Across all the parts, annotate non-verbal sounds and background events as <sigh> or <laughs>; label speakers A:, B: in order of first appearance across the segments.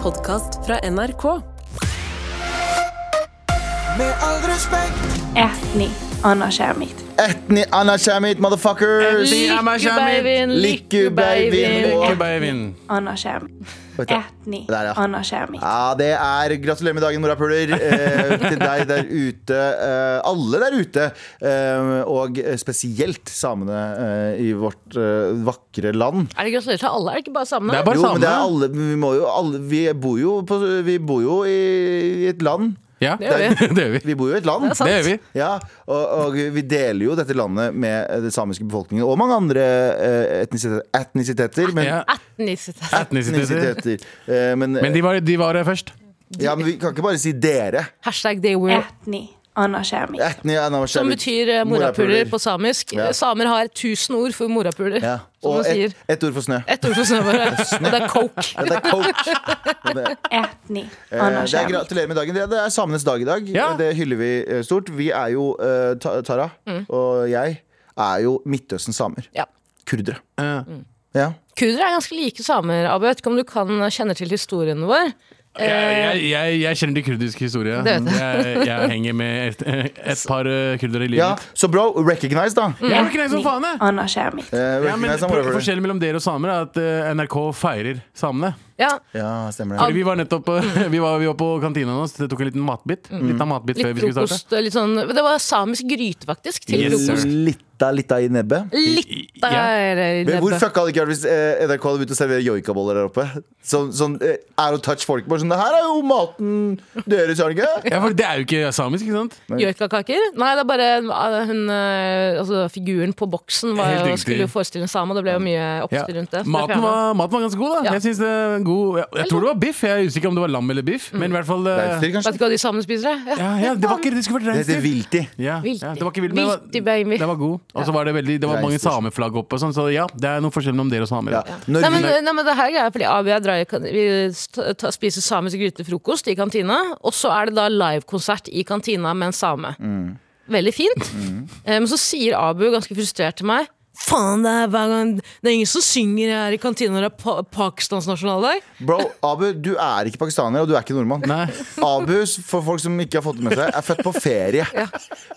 A: podkast fra NRK.
B: Med all respekt
C: Ethni Anna Skjermit.
D: Etni Anna Shamit, motherfuckers!
E: Etni Anna Shamit.
D: Lykkebabyen.
E: Lykke, babyen.
C: Anna Skjermit.
D: Vet du-
C: Ethni
D: Der, ja.
C: Anna Skjermit.
D: Ja, det er Gratulerer med dagen, morapuler. Eh, til deg der ute. Eh, alle der ute. Eh, og spesielt samene eh, i vårt eh, vakre land.
F: Er det gratulerer til alle? Er det ikke bare
E: Det
F: samene?
E: er bare
D: Jo, men det er
E: samene.
D: alle Vi, må jo, alle, vi bor jo, på, vi bor jo i, i et land.
E: Ja,
F: gjør vi.
E: det <laughs> gjør vi.
D: Vi bor jo i et land.
F: sant.
E: Det gjør vi.
D: Ja, og, og vi deler jo dette landet med den samiske befolkningen og mange andre eh, etnisiteter. etnisiteter men,
E: Ja.
F: Etnisitet.
E: Etnisiteter.
D: etnisiteter. Eh, men, eh,
E: Men de var, de var her først.
D: ja, men vi kan ikke bare si dere.
F: Hashtag they were.
C: Ethni Anna Skjermit.
D: Etni, ja, nå,
F: Som
D: skjer vi-
F: betyr eh, morapuler på samisk.
D: Ja.
F: Samer har tusen ord for morapuler.
D: Ja.
F: <laughs> Som
D: Og
F: man
D: ett
F: sier.
D: et ord for
F: <laughs>
D: snø.
F: Ett ord for
D: <laughs>
F: snøvare. Og det er coke.
D: Det er coach.
C: Ethni
D: Eh,
C: Anna
D: Det er
C: Skjermit.
D: gratulerer med dagen. Det det er samenes dag i dag.
E: Ja.
D: Det hyller vi eh, stort. Vi er jo eh, Ta- Tara og jeg er jo Midtøstens samer.
F: Mm. Ja. Mm.
D: Kurdere.
E: Ja.
D: Ja.
F: Kurdere er ganske like samer, Abu. Jeg vet ikke om du kan kjenner til historien vår.
E: Jeg, jeg, jeg, jeg kjenner til kurdisk historie.
F: Eh. Det vet jeg.
E: Jeg, jeg henger med et, et par eh, kurdere i livet.
D: ja, Så bro, recognize, da.
F: Mm.
E: Jeg er jo ikke den som faen, jeg!
C: Anna Skjermit.
D: Eh,
E: Ja, men
D: recognize han, hvorfor det?
E: Forskjellen mellom dere og samer er at eh, NRK feirer samene.
F: Ja,
D: Ja, stemmer
E: Fordi
D: det.
E: vi var nettopp eh, vi var, vi var på <laughs> kantina nå, så det tok en liten matbit. Litt av matbit før
F: Mm. Litt
E: vi skulle starte.
F: frokost. Litt sånn, det var samisk gryte, faktisk. Til
E: Yes, sir.
F: frokost.
D: Litta, litta i nebbet.
F: Litt eh, der i
D: Men hvor
F: nebbet.
D: fucka hadde det ikke vært hvis eh, NRK hadde begynt å servere joikaboller der oppe? Sånn, sånn eh, out of touch folk. Bare sånn, Det her er jo maten deres, er det ikke?
E: Ja, for det er jo ikke samisk, ikke sant?
F: Joikakaker? Nei, det er bare eh, hun, eh, altså, figuren på boksen var,
E: Helt
F: jo-
E: riktig.
F: skulle jo forestille en same, og det ble jo mye
E: Ja.
F: oppstyr rundt det. så det
E: Maten,
F: fjernet.
E: var, maten var ganske god, da.
F: Ja.
E: Jeg, synes det er en god, jeg, jeg tror det var biff. Jeg er usikker om det var lam eller biff.
F: Mm.
E: Men i hvert fall eh,
D: Reinsdyr,
F: Vet
D: kanskje?
F: du hva de samene spiser? da? Ja.
E: ja, ja, Det var ikke det skulle vært
D: Det heter
E: reinsdyr.
D: vilti.
E: Ja,
F: Vilti.
E: ja, det var ikke vilt, men det var-
F: Vilti, baby.
E: Det var god. Og så var det veldig, det var mange
D: Reinsdyr.
E: sameflagg oppe, og sånn, så ja, det er noe forskjell mellom dere og samer.
D: Ja.
E: Ja.
D: Når
F: Nei, men, eh,
D: vi-
F: nei, men det her er greia, fordi Abi og jeg drar, i kan- vi st- ta- spiser samisk grytefrokost i kantina, og så er det da livekonsert i kantina med en same. Veldig fint. Eh, Men så sier Abu ganske frustrert til meg Faen, det er hver gang Det er ingen som synger her i kantina når det er pa Pakistans nasjonaldag.
D: Bro, Abu, du er ikke pakistaner, og du er ikke nordmann.
E: Nei.
D: Abu, for folk som ikke har fått det med seg, er født på ferie.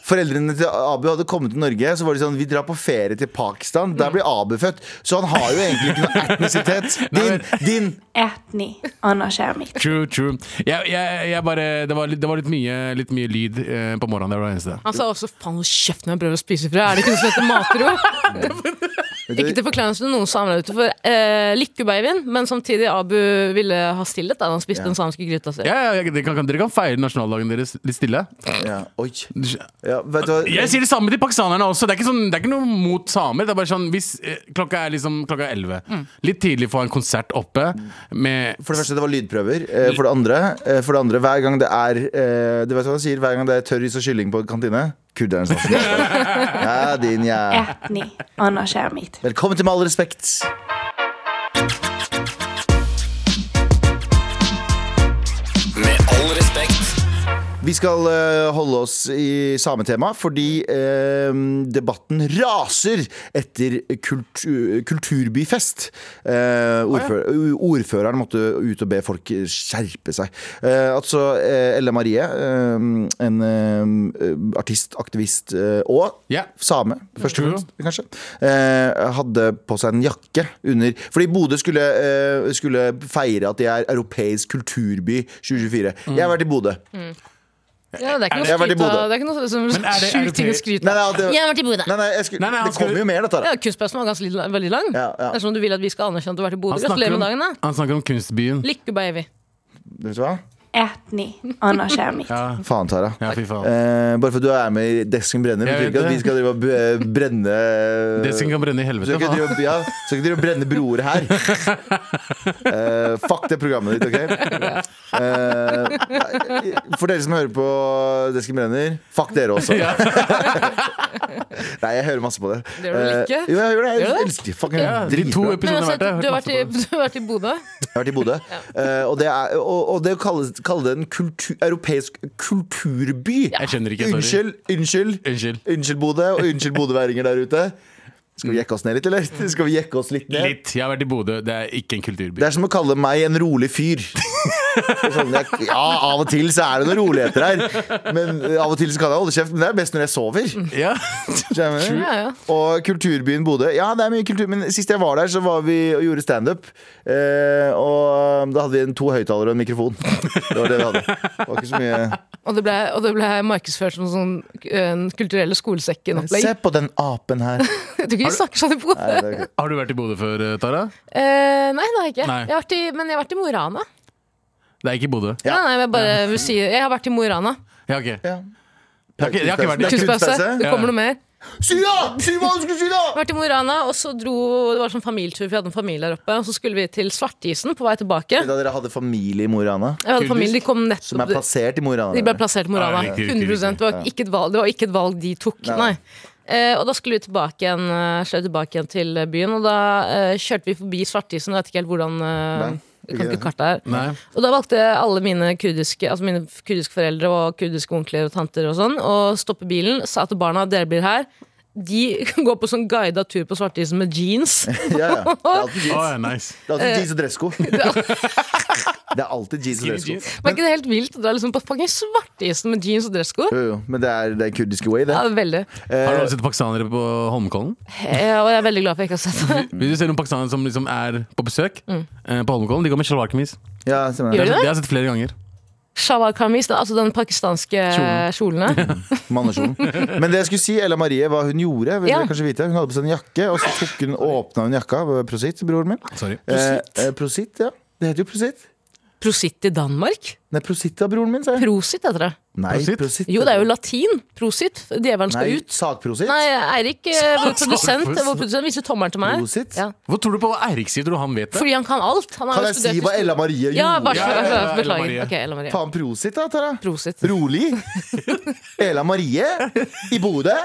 D: Foreldrene til Abu hadde kommet til Norge, så var de sånn Vi drar på ferie til Pakistan.
F: Mm.
D: Der blir Abu født. Så han har jo egentlig ikke noe etnisitet. Din, din
C: Ethni Anna Skjermit.
E: True, true. Jeg, jeg, jeg bare, det var, litt- det var litt, mye, litt mye lyd eh, på morgenen. Det var det eneste.
F: Han sa også 'faen, hold kjeft når jeg prøver å spise fra'. Er det ikke noe som heter matro? Ikke til forkleinelse til noen samer der ute, for eh, Lykkebabyen, men samtidig Abu ville ha stillhet da han spiste den samiske gryta si.
E: Ja, ja, jeg- dere, kan, dere kan feire nasjonaldagen deres litt stille.
D: ja, Oi. Ja, vet du hva?
E: Jeg sier det samme til pakistanerne også. Det er ikke, sånn, det er ikke noe mot samer. Det er bare sånn, hvis eh, Klokka er liksom klokka er 11.
F: Mm.
E: Litt tidlig for å ha en konsert oppe med
D: For det første, det var lydprøver. Eh, For det andre, eh, for det andre hver gang det er eh, Du vet hva han sier? Hver gang det er tørris og kylling på en kantine? Kurdernes nasjonaldag. Ja, din jæ-
C: Ethni Anna Skjermit.
D: Velkommen til Med all respekt.
B: Med all respekt
D: Vi skal eh, holde oss i sametema fordi eh, debatten raser etter kultu kulturbyfest. Eh, ordfø- Ordføreren måtte ut og be folk skjerpe seg. Eh, altså eh, Elle Marie, eh, en eh, artist, aktivist eh, og
E: Ja.
D: same, først og
E: Tror
D: fremst, kanskje, eh, hadde på seg en jakke under Fordi Bodø skulle, eh, skulle feire at de er europeisk kulturby 2024. Jeg har vært i Bodø.
F: Ja, det er ikke
E: Er
D: det- Jeg har
F: noe skryt
D: vært i
F: av.
D: Bodø.
F: Det er ikke noe som
E: Men er det
F: sjukt ting å
E: europei-
F: skryte
D: Nei,
F: av.
D: nei, det,
F: Jeg har vært i Bodø.
D: nei, nei, jeg skulle,
E: Nei, nei, han
D: det kommer
E: skulle-
D: jo mer, da, Tara.
F: Ja, Kunstpausen var ganske li- veldig lang.
D: Ja, ja.
F: Det er som om du vil at vi skal anerkjenne at du har vært i Bodø.
E: Han snakker
F: Gratulerer
E: om-
F: med dagen, da.
E: Han snakker om kunstbyen.
F: Lykkebaby.
D: Vet du hva?
C: Ethni Anna Skjermit.
E: Ja,
D: Faen, Tara.
E: ja fy faen.
D: Eh, bare for du er med i Desken brenner, betyr
E: Jeg vet
D: ikke at
E: det.
D: vi skal drive og b- brenne
E: Det som kan brenne i helvete.
D: Skal ikke
E: faen.
D: drive, og- ja, skal ikke drive og brenne broer
E: <laughs>
D: her. Eh, fuck det programmet ditt, OK? Eh, for dere som hører på Desken brenner, fuck dere også. <laughs> Nei, jeg hører masse på det.
F: Det gjør du vel ikke?
D: Eh, jo, jeg gjør det. Jeg
F: Gjør du det?
D: elsker det. Fucking
E: Ja, de to
D: dritbra.
F: Men
E: episodene
F: uansett,
E: har vært der.
F: altså, du har vært i, <laughs> du har vært i Bodø.
D: Jeg har vært i Bodø. Eh, og, det er, og, og det å kalle, kalle det en kultu- europeisk kulturby
E: Jeg skjønner ikke, sorry.
D: Unnskyld, unnskyld.
E: Unnskyld.
D: Unnskyld, Bodø, og unnskyld bodøværinger der ute. Skal vi jekke oss ned litt, eller? Skal vi jekke oss litt ned?
E: Litt. Jeg har vært i Bodø. Det er ikke en kulturby.
D: Det er som å kalle meg en rolig fyr. Sånn, jeg, ja, av og til så er det noen roligheter her. Men eh, av og til så kan jeg holde kjeft, men det er best når jeg sover.
E: Ja. <laughs>
D: Skjønner du?
F: Ja, ja.
D: Og kulturbyen Bodø. Ja, det er mye kultur, men sist jeg var der, så var vi og gjorde standup. Eh, og da hadde vi en to høyttalere og en mikrofon. Det var det vi hadde. Det var ikke så mye
F: Og det ble, og det ble markedsført som sånn en kulturelle
D: Se
F: skolesekken-opplegg.
D: på den apen
F: <laughs>
D: her.
F: Jeg tror ikke vi snakker sånn i Bodø.
D: Nei, det er ikke-
E: Har du vært i Bodø før, eh, Tara?
F: Eh, nei, det har jeg ikke.
E: Nei.
F: Jeg har vært i, men jeg har vært i Mo i Rana.
E: Det er ikke i Bodø.
F: Nei,
D: Ja.
F: nei, men jeg, bare vil si, jeg har vært i Mo i Rana.
E: Ja, ok. Jeg
D: ja.
E: har ikke, jeg har
D: Det
E: ikke vært
D: er
E: der.
F: Kunstpause.
D: kunstpause.
F: Det kommer noe mer.
D: Si da! Si hva du skulle si, da!
F: Jeg har vært i Mo i Rana, og så dro Det var sånn familietur, for vi hadde en familie der oppe. Og så skulle vi til Svartisen på vei tilbake.
D: Da dere hadde familie i Mo i Rana,
F: Jeg hadde familie, de kom
D: som er
F: nettopp
D: plassert i Mo i Rana
F: De ble plassert i Mo i Rana.
E: Ja, riktig, riktig,
F: 100 det var, ikke et valg, det var ikke et valg de tok.
D: Nei.
F: Nei. Eh, og da skulle vi tilbake igjen, eh, kjøre tilbake igjen til byen, og da eh, kjørte vi forbi Svartisen. Jeg vet ikke helt hvordan eh,
D: Nei,
F: Jeg kan
D: ikke det.
F: ikke kartet her.
E: Nei.
F: Og da valgte alle mine kurdiske, altså mine kurdiske foreldre og kurdiske onkler og tanter og sånn å stoppe bilen. Sa til barna dere blir her. De <laughs> går på sånn guida tur på Svartisen med jeans.
D: Ja, ja. Det er alltid
E: Å,
D: jeans,
E: ja, nice.
D: det er
F: Eh,
D: alltid jeans og dressko.
F: <laughs>
D: <laughs> Det er alltid jeans og
E: Skinny
D: dressko.
E: jeans.
F: Var ikke det helt vilt? Du er liksom på fucking Svartisen med jeans og dressko.
D: Jo, jo, men det er den kurdiske way, det.
F: Ja, veldig.
E: Har du
D: Eh,
E: også sett pakistanere på Holmenkollen?
F: Eh, Og jeg er veldig glad for jeg ikke har <laughs> sett det.
E: Hvis du ser noen pakistanere som liksom er på besøk eh, på Holmenkollen, de går med sjalvarkamis.
D: ja, stemmer det.
F: Gjør
E: Det
F: de
E: har
F: det?
E: jeg sett flere ganger.
F: Shawar kamis, den- altså den pakistanske
E: Kjolen.
D: <laughs>
F: kjolene.
D: Mannekjolen. Men det jeg skulle si, Ella Marie, hva hun gjorde, vil
F: Ja.
D: dere kanskje vite. Hun hadde på seg en jakke, og så tok hun åpna hun jakka. Prosit, broren min.
E: Sorry.
D: Prosit? Eh, eh, prosit, ja. Det heter jo prosit.
F: Prosit i Danmark?
D: Nei, prosit av broren min, sa jeg.
F: Prosit heter det.
D: Nei,
E: Prosit?
F: Jo, det er jo latin. Prosit. Djevelen skal
D: Nei,
F: ut.
D: sakprosit.
F: Nei, Eirik, eh, vår
E: Sa- sa-
F: produsent, vår produsent viser tommelen til meg.
D: Prosit?
F: Ja.
E: Hvor tror du på hva Eirik sier? Tror du han vet det?
F: Fordi han kan alt. Han har
D: Kan
F: jo
D: jeg
F: studert
D: si hva
F: historie.
D: Ella Marie
F: Ja,
D: gjorde?
F: vær så
E: Ja, ja,
F: vær så
E: ja,
F: god.
E: Ella
F: Beklager.
E: Marie.
F: Ok, Ella Marie.
D: Faen prosit, da, Tara.
F: Prosit.
D: Rolig. Ella Marie i Bodø.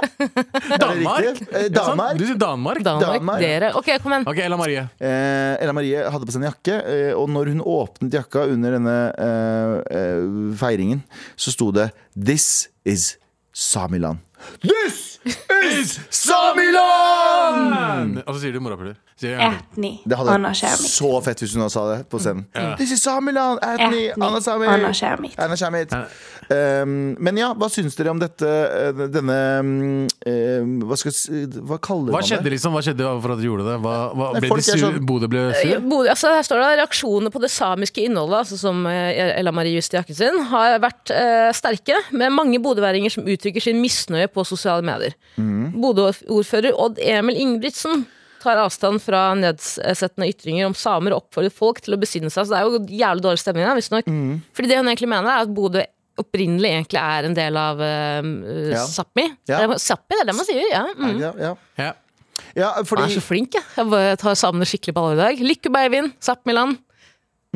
E: Danmark?
D: riktig? Eh,
E: Ja, sant?
D: Danmark?
E: Du sier Danmark?
F: Danmark,
D: Danmark.
F: dere. Ok, kom igjen.
E: Ok, Ella Marie.
D: Eh, Ella Marie hadde på seg en jakke, eh, og når hun åpnet jakka under denne eh, eh, feiringen, så sto det 'This is Samiland'. This is Samiland!
E: Og så sier du morapuler. Sier jeg gjerne.
C: Etni.
D: Det hadde
C: Anna
D: vært
C: Skjærmit.
D: så fett hvis hun hadde sa det på scenen.
E: Ja.
D: This is Samiland! Anthony,
C: Etni.
D: Anna Sami.
C: Anna Skjærmit.
D: Anna Shamit.
E: Ja.
D: Um, men ja, hva syns dere om dette eh, Denne um, hva, skal, jeg si- hva kaller
E: Hva
D: man
E: skjedde
D: det?
E: liksom? Hva skjedde for at du gjorde det? Hva, hva,
D: Nei,
E: ble
D: folk
E: de
D: er
E: sur?
D: sånn-
E: Bodø ble sur?
F: Bodø, altså her står det Reaksjonene på det samiske innholdet, altså som eh, Ella Marie Just i jakken sin, har vært eh, sterke, med mange bodøværinger som uttrykker sin misnøye på sosiale medier.
D: Mhm.
F: Bodø-ordfører Odd Emil Ingebrigtsen tar avstand fra nedsettende ytringer om samer og oppfordrer folk til å besinne seg. Så det er jo jævlig dårlig stemning her, visstnok.
D: Mhm.
F: Fordi det hun egentlig mener, er at Bodø opprinnelig egentlig er en del av eh,
D: Ja.
F: Sápmi. Det
D: Ja.
F: er- Sápmi, det er det man sier, ja. Mm.
D: Ja, ja.
E: Ja.
D: ja,
F: Jeg er
D: fordi,
F: så flink, jeg. Jeg bare tar samene skikkelig på alvor i dag. Lykke, Beivind. Sápmiland.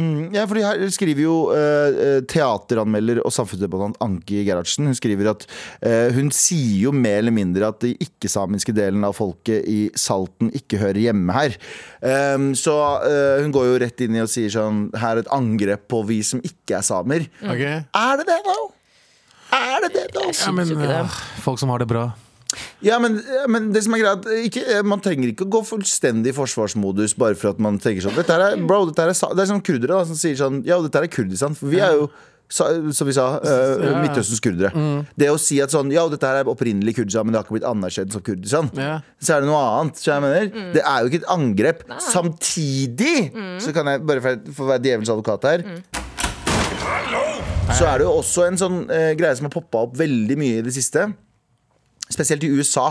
D: ja, fordi her skriver jo eh, eh, teateranmelder og samfunnsdebattant Anki Gerhardsen Hun skriver at eh, hun sier jo mer eller mindre at de ikke-samiske delen av folket i Salten ikke hører hjemme her. Um, så eh, hun går jo rett inn i og sier sånn Her er et angrep på vi som ikke er samer.
E: Ok.
D: Er det det, da? Er det det, da?
E: Ja, men øh, folk som har det bra.
D: Ja, men, men det som er greit, ikke, eh, man trenger ikke å gå fullstendig i forsvarsmodus bare for at man tenker sånn dette her er, bro, dette her er, sa- Det er sånn kurdere da, som sier sånn Ja, dette her er Kurdistan. For vi er jo, sa, som vi sa, eh,
E: Ja. Mm.
D: Midtøstens kurdere. Det å si at sånn Ja, dette her er opprinnelig Kurdistan, men det har ikke blitt anerkjent som Kurdistan.
E: Ja.
D: Så er det noe annet. Så jeg mener, Det er jo ikke et angrep. Samtidig så kan jeg bare for, for å være djevelens advokat her så er det jo også en sånn eh, greie som har poppa opp veldig mye i det siste. Spesielt i USA.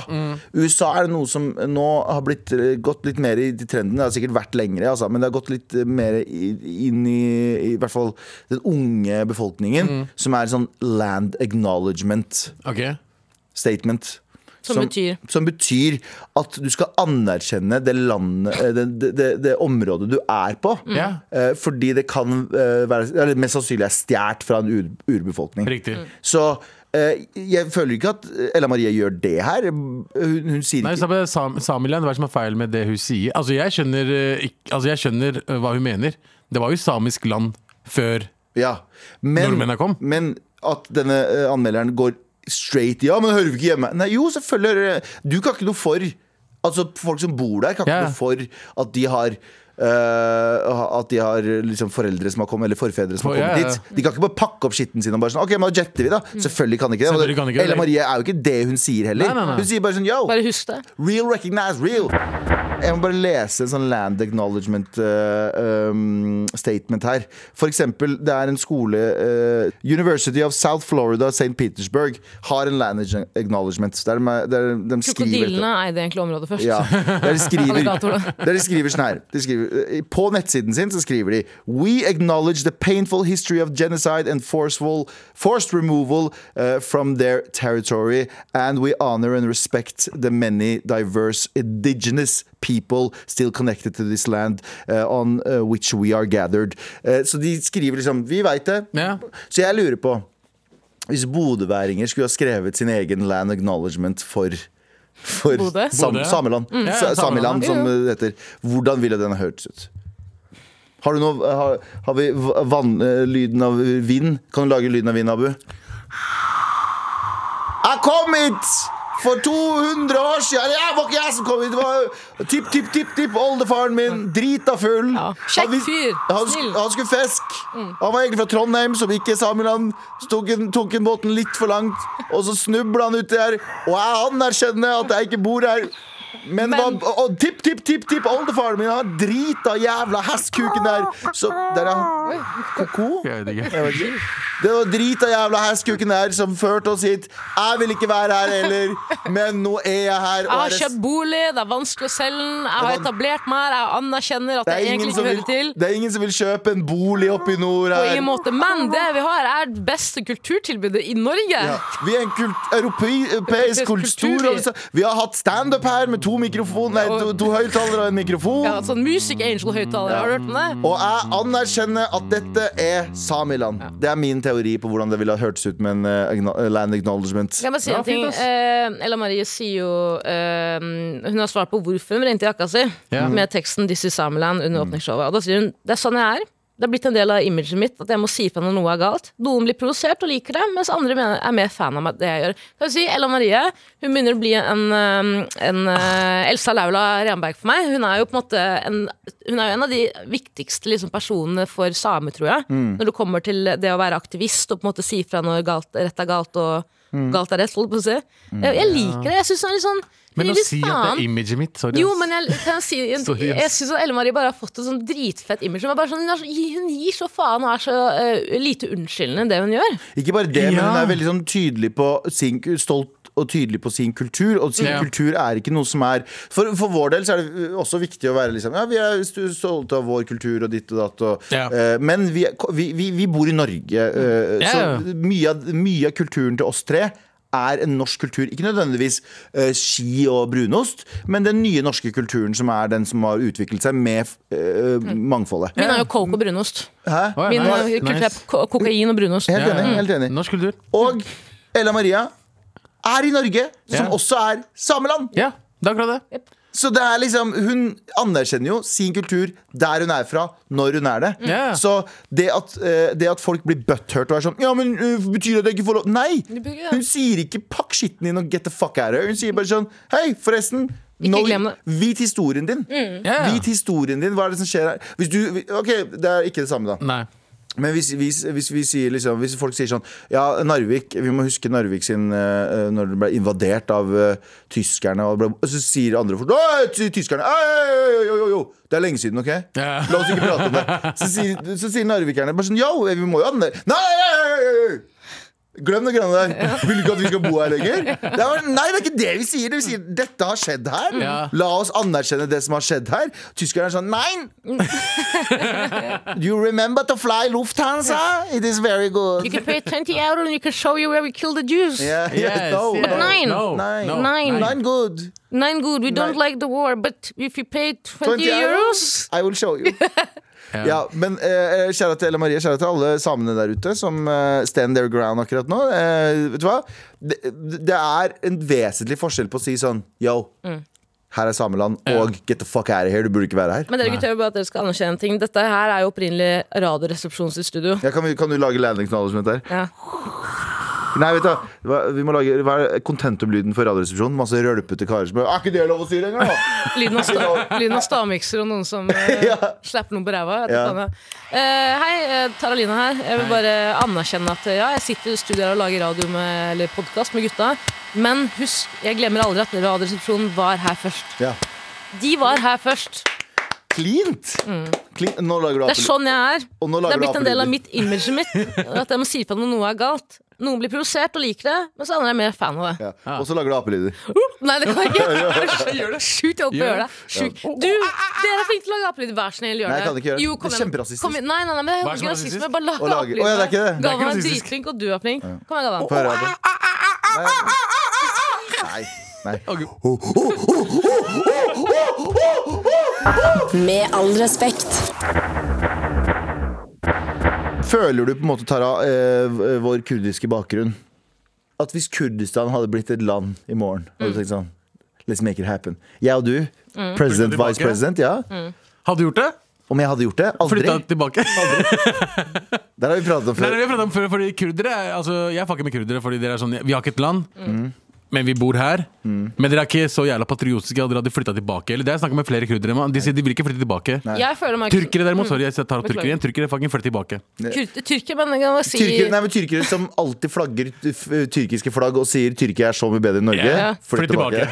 D: USA er det noe som nå har blitt, eh, gått litt mer i de trendene. Det har sikkert vært lengre, altså, men det har gått litt eh, mer i, inn i i hvert fall den unge befolkningen, som er sånn land acknowledgement
E: Ok.
D: statement.
F: Som betyr?
D: som betyr at du skal anerkjenne det, landet, eh, det, det, det, det området du er på.
E: Ja.
D: Eh, fordi det kan eh, være eller Mest sannsynlig er stjålet fra en ur, urbefolkning.
E: Riktig.
D: Så eh, jeg føler ikke at Ella Marie gjør det her. Hun, hun sier
E: Nei,
D: ikke
E: så er det Sam Samiland, hva er det som er feil med det hun sier? Altså, jeg skjønner, øh, ikk- altså, jeg skjønner øh, hva hun mener. Det var jo samisk land før
D: ja. men,
E: Nordmennene kom.
D: men at denne eh, anmelderen går straight Ja, men hører vi ikke hjemme? Nei, jo, selvfølgelig. hører- Du kan ikke noe for Altså, folk som bor der, kan ikke
E: Ja.
D: noe for at de har eh, at de har liksom foreldre som har kommet, eller forfedre som har
E: Ja,
D: kommet
E: ja, ja. Mm.
D: dit. De kan ikke bare pakke opp skitten sin og bare sånn OK, men da jetter vi, da. Selvfølgelig kan de ikke det.
E: Selvfølgelig kan de ikke det.
D: Ella Marie er jo ikke det hun sier heller.
E: Nei, nei, nei.
D: Hun sier bare sånn yo,
F: Bare husk det.
D: real recognize real. Jeg må bare lese en sånn land acknowledgement eh, um, statement her. For eksempel, det er en skole eh, University of South Florida, St. Petersburg, har en land acknowledgement. Der de, der de skriver
F: Krokodillene eide egentlig området først.
D: ja, der de skriver,
F: Alligatorene.
D: der de skriver sånn her de skriver, eh, På nettsiden sin så skriver de We acknowledge the painful history of genocide and forceful, forced removal eh, from their territory And we honor and respect the many diverse indigenous people Still connected to this land eh, on eh, which we are gathered Eh, Så de skriver liksom, vi vet det
E: Ja.
D: Så jeg lurer på hvis bodøværinger skulle ha skrevet sin egen land acknowledgement for, for
F: Bodø?
D: Sam,
E: Bodø, ja. Mm.
D: Sameland,
E: Ja,
D: Sa- Sameland
E: Sameland.
D: som
F: Jo,
D: det heter, hvordan ville den ha hørtes ut? Har, du noe, har, har vi v- vann, eh, lyden av vind? Kan du lage lyden av vind, Abu? Jeg kom hit! For 200 år siden! Det var ikke jeg som kom hit! Det var tipp, tipp, tipp, tipp, oldefaren min, drita full.
F: Ja. Kjekk
D: Han vis-
F: fyr.
D: Han, sk-
F: Snill. Mm.
D: han skulle fiske. Han var egentlig fra Trondheim, som ikke er Sameland. Så Tok, en- tok en båten litt for langt, og så snubla han uti her. Og jeg anerkjenner at jeg ikke bor her. Men,
F: Men-
D: hva- og tipp, tipp, tipp, tipp, oldefaren min har drita jævla hestkuken der. Så der er han. Ko-ko?
E: Jeg vet ikke.
D: Jeg vet ikke. Det var drita jævla hestkuken her som førte oss hit. Jeg vil ikke være her heller, men nå er jeg her.
F: Jeg
D: Og
F: har
D: er
F: kjøpt bolig, det er vanskelig å selge den, jeg har
D: Det var-
F: etablert meg her, jeg anerkjenner at
D: det,
F: jeg
D: er ingen
F: egentlig
D: som
F: ikke
D: vil,
F: hører til.
D: det er ingen som vil kjøpe en bolig oppe i nord
F: På
D: her.
F: ingen måte. Men det vi har, er det beste kulturtilbudet i Norge.
D: Ja. Vi er en kult, europei- europeisk
F: kultur, vi.
D: kultur. Vi har hatt standup her med to, mikrofon, nei, to, to høyttalere og en mikrofon.
F: Ja, sånn Music Angel-høyttaler, har du hørt om det?
D: Og jeg anerkjenner at dette er Samiland. Det er min teori på hvordan det ville ha hørtes ut med en eh, agno- land acknowledgement.
F: Kan jeg bare si
E: Ja,
F: en ting?
E: fint, ass.
F: Eh, Ella Marie sier jo eh, Hun har svart på hvorfor hun rente jakka si
E: Ja. Mm.
F: med teksten 'This is Sameland' under åpningsshowet. Og da sier hun det er sånn jeg er. Det er blitt en del av imaget mitt at jeg må si fra når noe er galt. Noen blir provosert og liker det, mens andre mener, er mer fan av meg- det jeg gjør. Kan jeg si, Ella Marie hun begynner å bli en, eh, en eh, Elsa Laula Renberg for meg. Hun er jo på en måte en, hun er jo en av de viktigste liksom, personene for samer, tror jeg.
E: Mm.
F: Når det kommer til det å være aktivist og på en måte si fra når galt, rett er galt og
E: Mm.
F: galt er rett. Holdt på å si. Jeg, jeg liker det. Jeg syns hun er litt sånn
E: Men å
F: litt
E: si at det
F: faen.
E: er imaget mitt sorry,
F: Jo,
E: ass.
F: men jeg, kan jeg, si,
E: <laughs> Sorry,
F: jeg,
E: ass.
F: jeg syns Elle Marie bare har fått et sånn dritfett image. Hun, er bare sånn, hun, er så, hun gir så faen og er så eh, lite unnskyldende det hun gjør.
D: Ikke bare det, men
E: Ja.
D: hun er veldig sånn tydelig på sin, stolt og tydelig på sin kultur. Og sin
E: Ja.
D: kultur er ikke noe som er for, for vår del så er det eh, også viktig å være liksom Ja, vi er st- stolte av vår kultur og ditt og datt. Og,
E: Ja.
D: eh, men vi, er- vi, vi, vi bor i Norge, eh,
E: Ja.
D: så mye av, mye av kulturen til oss tre er en norsk kultur. Ikke nødvendigvis eh, ski og brunost, men den nye norske kulturen som er den som har utviklet seg med eh,
E: Mm.
D: mangfoldet.
F: Min er jo coke og brunost.
D: Hæ?
E: Å, ja,
F: Min
E: nice,
F: eh, kultur er
E: nice.
F: ko- kokain og brunost.
D: Helt
E: Ja, ja.
D: enig. Helt enig.
E: Norsk kultur.
D: Og Ella Maria er i Norge, som
E: Ja.
D: også er sameland.
E: Ja, det er akkurat det.
D: Så det er liksom, hun anerkjenner jo sin kultur der hun er fra, når hun er det.
E: Ja.
D: Så det at, eh, det at folk blir butthurt og er sånn Ja, men eh, betyr det at jeg ikke får lov Nei!
F: betyr ikke det.
D: Hun sier ikke 'pakk skitten din og get the fuck out of here'. Hun sier bare sånn Hei, forresten. nå-
F: glem det.» Mm.
D: Vit historien din.
E: Ja, ja.
D: Vit historien din. Hva er det som skjer her? Hvis du, ok, Det er ikke det samme, da.
E: Nei.
D: Men hvis, hvis, hvis, vi sier liksom, hvis folk sier sånn Ja, Narvik, vi må huske Narvik sin eh, eh, Når den ble invadert av eh, tyskerne og, ble, og så sier andre folk «Åh, ty- Tyskerne, ei, jo, jo, jo, jo Det er lenge siden, ok? <laughs>
E: Ja.
D: La oss ikke prate om det Så sier, så sier narvikerne bare sånn Ja, vi må jo ha den der Nei, ei, ei, ei, ei. Glem det greiene der. Vil du ikke at vi skal bo her lenger? Det er, nei, det er ikke det vi sier. Vi sier dette har skjedd her.
E: Ja.
D: La oss anerkjenne det som har skjedd her. Tyskerne er sånn Nein!
E: <laughs>
D: You remember to fly Lufthansa? It is very
F: You
D: good.
F: can pay 20 euro and you can show you where we kill the Jews.
D: Yeah, <laughs> yeah,
E: Yes,
D: no,
E: yeah.
D: no.
F: Nine.
E: No,
D: Nine.
E: no,
F: Nine.
D: Nine good.
F: Nine good, we don't
D: Nei.
F: like the war, but if you pay 20,
D: 20
F: euros
D: I will
F: <laughs>
D: show you. Ja, men eh, kjære til Ella Marie, kjære til alle samene der ute som eh, stand their ground akkurat nå. Eh, vet du hva? Det, det er en vesentlig forskjell på å si sånn yo,
F: Mm.
D: her er sameland, og get the fuck out of here, du burde ikke være her.
F: Men dere gutter, jeg vil bare at dere skal anerkjenne en ting. Dette her er jo opprinnelig Radioresepsjons i studio.
D: Ja, kan, vi, kan du lage landing acknowledgement der?
F: Ja.
D: Nei, vet du, hva? Hva- vi må lage Hva er kontentumlyden for Radioresepsjonen? Masse rølpete karer som bare Er ikke det lov å si lenger,
F: <laughs>
D: da?
F: Lyden av,
E: <laughs>
F: sta lyden av stavmikser og noen som eh, slapper noen på ræva. jeg vet
D: Ja.
F: ikke hva det er. Eh, hei, eh, Taralina her. Jeg vil bare anerkjenne at eh, ja, jeg sitter i studio her og lager radio med, eller podkast med gutta. Men husk, jeg glemmer aldri at Radioresepsjonen var her først.
D: Ja.
F: De var her først.
D: Klint! Klint. Nå
F: Mm. Det er
D: lager du apelyder.
F: sånn jeg er.
D: Og nå
F: Det
D: lager
F: er
D: du
F: blitt en del av
D: apelyder.
F: mitt imaget mitt. At jeg må si fra når noe er galt. Noen blir provosert og liker det, mens andre er mer fan av det.
D: Ja. Og så lager du apelyder.
F: Nei, det kan jeg
D: <laughs>
F: ikke. Sjukt hjelp å gjøre det. Sjukt. Du, dere er flinke til å lage apelyder. Vær snill, gjør det.
D: Nei, jeg kan ikke gjøre det.
F: Jo, kom
D: Det er
F: igjen.
D: kjemperasistisk.
F: Kom igjen. Nei, nei, nei, men det
E: Hva
F: er ikke
E: er som er
F: rasisme.
E: rasistisk?
F: Bare lag
D: Å lage- Å, ja, det er ikke
F: apelyder.
D: det. Det
E: er ikke
F: Galvan er
E: rasistisk.
F: dritflink, og du er flink. Kom igjen,
D: Få
F: Galvan.
D: høre det. Nei. Nei.
A: Med all respekt.
D: Føler du på en måte, Tara, eh, v- vår kurdiske bakgrunn At hvis Kurdistan hadde blitt et land i morgen Hadde
F: Mm.
D: du tenkt sånn Let's make it happen Jeg og du, president,
E: Flytta tilbake?
D: vice president, ja
F: Mm.
E: Hadde du gjort det?
D: Om jeg hadde gjort det? Aldri
E: Flytta tilbake?
D: Der har vi pratet om
E: Nei,
D: før
E: nei, vi har pratet om før, fordi kurdere er- altså, Jeg fucker med kurdere, fordi dere er sånn Vi har ikke et land, men vi bor her. Men dere er ikke så jævla patriotiske at dere hadde flytta tilbake. Eller det har jeg snakket med flere kurdere om, De sier de vil ikke flytte
F: Jeg
E: tilbake.
F: føler meg
E: Tyrkere derimot, sorry, jeg tar opp
F: Beklager.
E: tyrkere igjen. Tyrkere fucking flytter tilbake.
F: Kur- Tyrker, men jeg kan bare si
D: Tyrkere, nei, men tyrkere som alltid flagger t- f- tyrkiske flagg og sier Tyrkia er så mye bedre enn Norge.
E: Ja.
D: Flytt tilbake.
E: <laughs>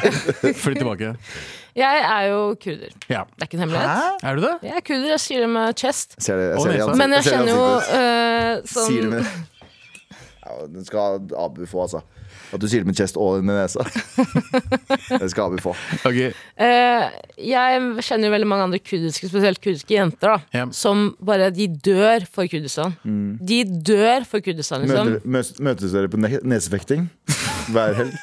E: Flytt tilbake.
F: Jeg er jo kurder. Det
E: Ja.
F: er ikke en hemmelighet.
E: Er du det?
F: Jeg er kurder, jeg sier det med chest.
D: Ser det, Altså, jeg
E: Å,
D: ser det i
E: nesa.
D: ansikt-
F: Men jeg
D: ser det i
F: kjenner jo
D: ansiktet.
F: eh, sånn
D: Sier det med <laughs> ja, Den skal Abu få, altså. At du sier det med chest og med <laughs> nesa. Den skal Abu få.
E: Ok.
F: Eh, jeg kjenner jo veldig mange andre kurdiske, spesielt kurdiske jenter, da.
E: Ja.
F: Som bare De dør for Kurdistan.
D: Mm.
F: De dør for Kurdistan, liksom.
D: Møter, møs, møtes dere på ne nesefekting hver <laughs> helg?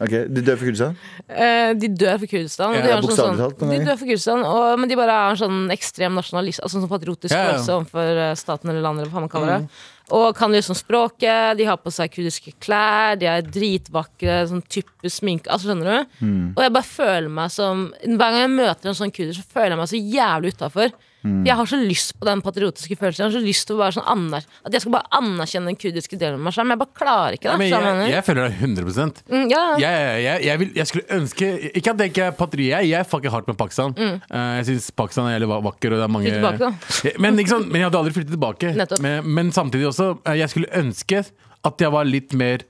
D: Ok, Du dør for Kurdistan?
F: Eh, de dør for Kurdistan. og
E: Ja,
F: de, har en
D: bokstavelig
F: sånn,
D: talt,
F: sånn,
D: men
F: de
D: jeg-
F: dør for Kurdistan og, Men de bare er en sånn ekstrem nasjonalist, altså sånn patriotisk
E: Ja, Mm. ja.
F: følelse overfor eh, staten eller landet. Eller hva man kaller det Og kan liksom språket, de har på seg kurdiske klær, de er dritvakre, sånn type sminke Altså, skjønner du?
E: Mm.
F: Og jeg bare føler meg som Hver gang jeg møter en sånn kurder, så føler jeg meg så jævlig utafor.
E: Mm.
F: Jeg har så lyst på den patriotiske følelsen. Jeg har så lyst til å være sånn aner At jeg skal bare anerkjenne den kurdiske delen av meg selv, men jeg bare klarer ikke det. skjønner
E: Men
F: du hva
E: jeg,
F: jeg mener?
E: jeg føler deg 100
F: Mm, ja, ja.
E: jeg, jeg, jeg, vil, jeg skulle ønske Ikke at jeg ikke er patriot, jeg, jeg fucker hardt med Pakistan. Eh, jeg syns Pakistan er jævlig va- vakker. Og det er mange...
F: Mm. Flytt tilbake, da.
E: Ja, men, ikke sant? men jeg hadde aldri flyttet tilbake.
F: Nettopp.
E: Men, men samtidig også, eh, jeg skulle ønske at jeg var litt mer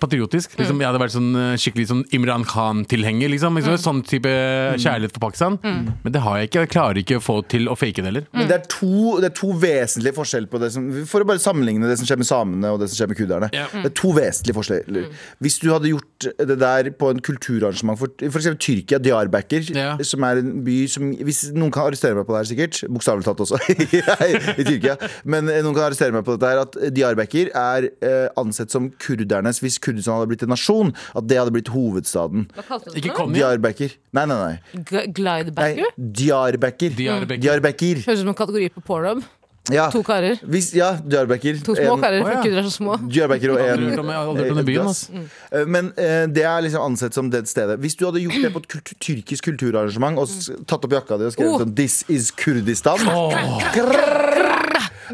E: patriotisk. Liksom,
F: Mm.
E: Jeg hadde vært sånn eh, skikkelig sånn Imran Khan-tilhenger. Liksom. Liksom,
F: Mm.
E: Sånn type kjærlighet for Pakistan. Men det har jeg ikke. Jeg klarer ikke å få til å fake det heller.
F: Mm.
D: Men det er, to, det er to vesentlige forskjeller på det som For å bare sammenligne det som skjer med samene og det som skjer med kurderne.
E: Ja. Mm.
D: Det er to vesentlige forskjeller. Hvis du hadde gjort det der på en kulturarrangement for f.eks. Tyrkia, Diyarbakir,
E: Ja.
D: som er en by som Hvis noen kan arrestere meg på det her, sikkert. Bokstavelig talt også. <laughs> I Tyrkia. Men noen kan arrestere meg på dette her. At Diyarbakir er eh, ansett som kurdernes Hvis Kurdistan hadde blitt en nasjon, at det hadde blitt hovedstaden.
F: Hva kalte du det?
E: Ikke kom igjen.
D: Diyarbakir. Nei, nei, nei.
F: G-
D: nei
F: Glidebacker?
D: Diyarbakir.
E: Diyarbakir.
D: Diyarbakir.
F: Høres ut som en kategori på pornhub.
D: Ja.
F: To karer.
D: Hvis, ja, Diyarbakir.
F: To små
D: En-
F: karer,
E: Å,
F: for
E: ja.
F: kudder er så små.
D: Diyarbakir og
E: Jeg har aldri hørt
D: en
E: om- jeg har aldri hørt om den byen. altså. ass.
D: Eh, Men eh, det er liksom ansett som det stedet. Hvis du hadde gjort det på et kultu- tyrkisk kulturarrangement og s- tatt opp jakka di og skrevet
F: Oh.
D: sånn This is Kurdistan. Krrrr.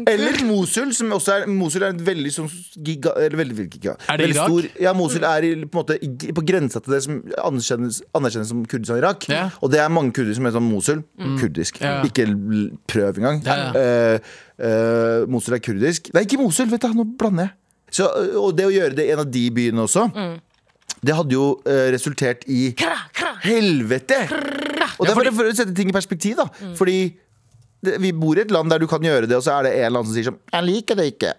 D: Eller Mosul, som også er Mosul er et veldig sånn giga... Eller veldig, veldig giga.
E: Er det
D: veldig
E: Irak?
D: ja, Mosul er i, på, en måte, i- på grensa til det som anerkjennes, anerkjennes som Kurdistan i Irak.
E: Ja. Mm.
D: Og det er mange kurdere som heter sånn Mosul. Kurdisk.
E: Ja.
D: Ikke l- prøv engang.
E: Ja, ja.
D: Eh, eh, Mosul er kurdisk. Nei, ikke Mosul! Vet du, nå blander jeg. Så, eh, og det å gjøre det i en av de byene også,
E: Mm.
D: det hadde jo eh, resultert i Helvete! Og det er for, for å sette ting i perspektiv, da.
E: Mm.
D: Fordi det, vi bor i et land der du kan gjøre det, og så er det en eller annen som sier sånn Jeg liker det ikke.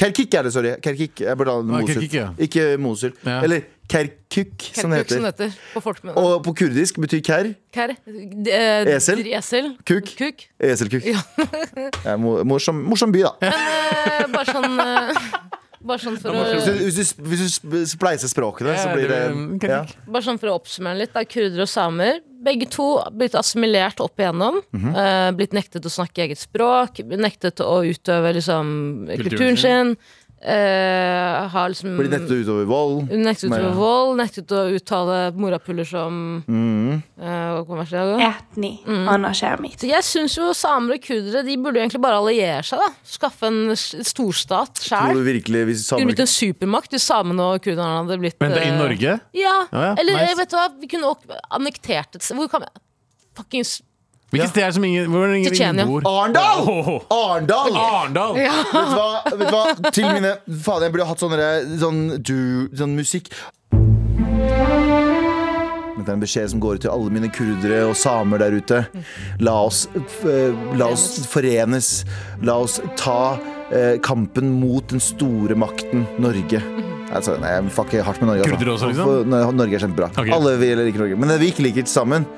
D: Kerkik er det, sorry. Kerkik. Jeg burde ha det
E: Ah,
D: Mosul.
E: Kerkik, Mm. ja.
D: Ikke Mosul.
E: Ja.
D: Eller Kerkuk, som det
F: Kerkuk, som
D: heter.
F: det heter. På folkemunne.
D: Og på kurdisk betyr ker
F: Ker. D- eh,
D: Esel.
F: Esel.
D: Kuk.
F: Kuk.
D: eselkuk. <laughs>
F: Ja.
D: Det er mo- morsom, morsom by, da.
F: Eh, bare sånn eh, Bare sånn for å
D: Hvis du, hvis du, sp- hvis du sp- spleiser språkene,
E: Ja,
D: så
E: det
D: blir det
E: blir-
D: ja.
F: Bare sånn for å oppsummere litt, da, kurdere og samer Begge to blitt assimilert opp igjennom
D: Mhm.
F: eh, Blitt nektet å snakke eget språk Nektet å utøve liksom, kulturen sin eh, har liksom
D: Blir nektet utover vold.
F: Hun nektet
D: Nei.
F: å vold, nektet å uttale morapuler som
D: Mhm.
F: eh, hva kommer det til å gå?
C: Ätni, annars är mitt.
F: Så jeg syns jo samer og kurdere De burde jo egentlig bare alliere seg. da Skaffe en s- storstat
D: Tror
F: sjæl.
D: du virkelig hvis
F: Kunne
D: samer
F: blitt en supermakt hvis samene og kurderne hadde blitt
E: Men det er i
F: eh,
E: Norge?
F: Ja.
E: Ja, ja,
F: Eller
E: nice.
F: vet du hva, vi kunne ok annektert et sted. Hvor kan vi Fuckings
E: Hvilket sted er det som ingen, hvor ingen,
F: Tsjetsjenia.
E: ingen bor?
D: Arendal!
E: Åh,
D: Arendal!
E: Arendal!
D: Vet du hva? Vet du hva? Til mine Faen, jeg burde hatt sånne sånn, du, sånn musikk. Dette er en beskjed som går ut til alle mine kurdere og samer der ute. La oss, f- eh, la oss forenes. La oss ta eh, kampen mot den store makten Norge. Altså, nei, jeg fucker hardt med Norge. altså.
E: Kurdere også, liksom?
D: For- Nei, Norge er kjempebra.
E: Ok.
D: Alle vi liker Norge. Men det vi ikke liker sammen,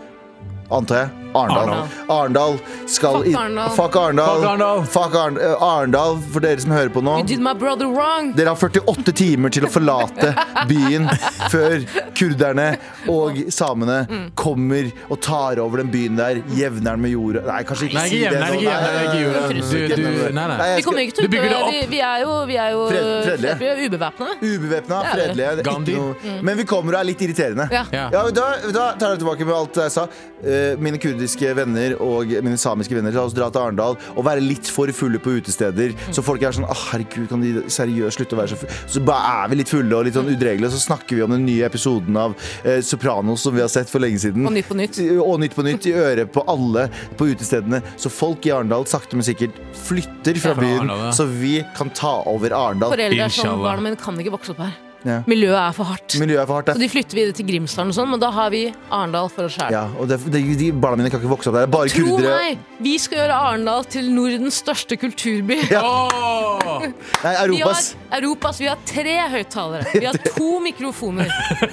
D: antar jeg, Arendal. Arendal skal
F: Fuck
D: i-
F: Arendal.
D: Fuck Arendal.
E: Fuck Arendal.
D: Fuck Arn- eh, Arendal, for dere som hører på nå.
F: You did my brother wrong!
D: Dere har 48 timer til å forlate byen før kurderne og samene
F: Mm.
D: kommer og tar over den byen der. Jevner den med jorda. Nei, kanskje ikke
E: Nei,
D: si
E: ikke
D: det.
E: jevne,
D: sånn.
E: ikke jevne,
D: Nei,
E: ikke jevne. Du, du, nei,
D: Nei,
E: nei.
D: jeg
F: Vi kommer
D: skal
F: ikke til å
E: Du bygger det
F: utøve-
E: opp.
F: Vi, vi er jo, vi er jo
D: Fred- fredelige.
F: Vi er ubevæpna.
D: Ubevæpna,
F: det.
D: fredelige. det er ikke
E: Gandhi.
D: noe- Men vi kommer og er litt irriterende.
F: Mm. Ja.
E: Ja.
D: Ja, men da, da tar jeg tilbake med alt jeg sa. Eh, mine kurdiske venner og mine samiske venner, la oss dra til Arendal og være litt for fulle på utesteder. Så folk er sånn Å, herregud, kan de seriøst slutte å være så fulle? Så bare er vi litt fulle og litt sånn udregelige, og så snakker vi om den nye episoden av eh, Sopranos som vi har sett for lenge siden.
F: Og Nytt på Nytt.
D: Og Nytt på Nytt i øret på alle på utestedene. Så folk i Arendal sakte, men sikkert flytter fra
E: Fra
D: byen,
E: Arendal, ja.
D: så vi kan ta over Arendal.
F: Foreldre er sånn
E: Inshallah.
F: Barna mine kan ikke vokse opp her.
D: Ja.
F: Miljøet er for hardt.
D: Miljøet er for hardt,
F: Så
D: det.
F: de flytter videre til Grimsdalen og sånn, men da har vi Arendal for oss sjæl.
D: Ja, og det, det, de barna mine kan ikke vokse opp der. Det er Bare
F: Tro
D: kurdere.
F: meg, vi skal gjøre Arendal til Nordens største kulturby.
E: Åh!
D: Nei,
F: Vi har,
D: Europas.
F: Europas, vi har tre høyttalere. Vi har to mikrofoner.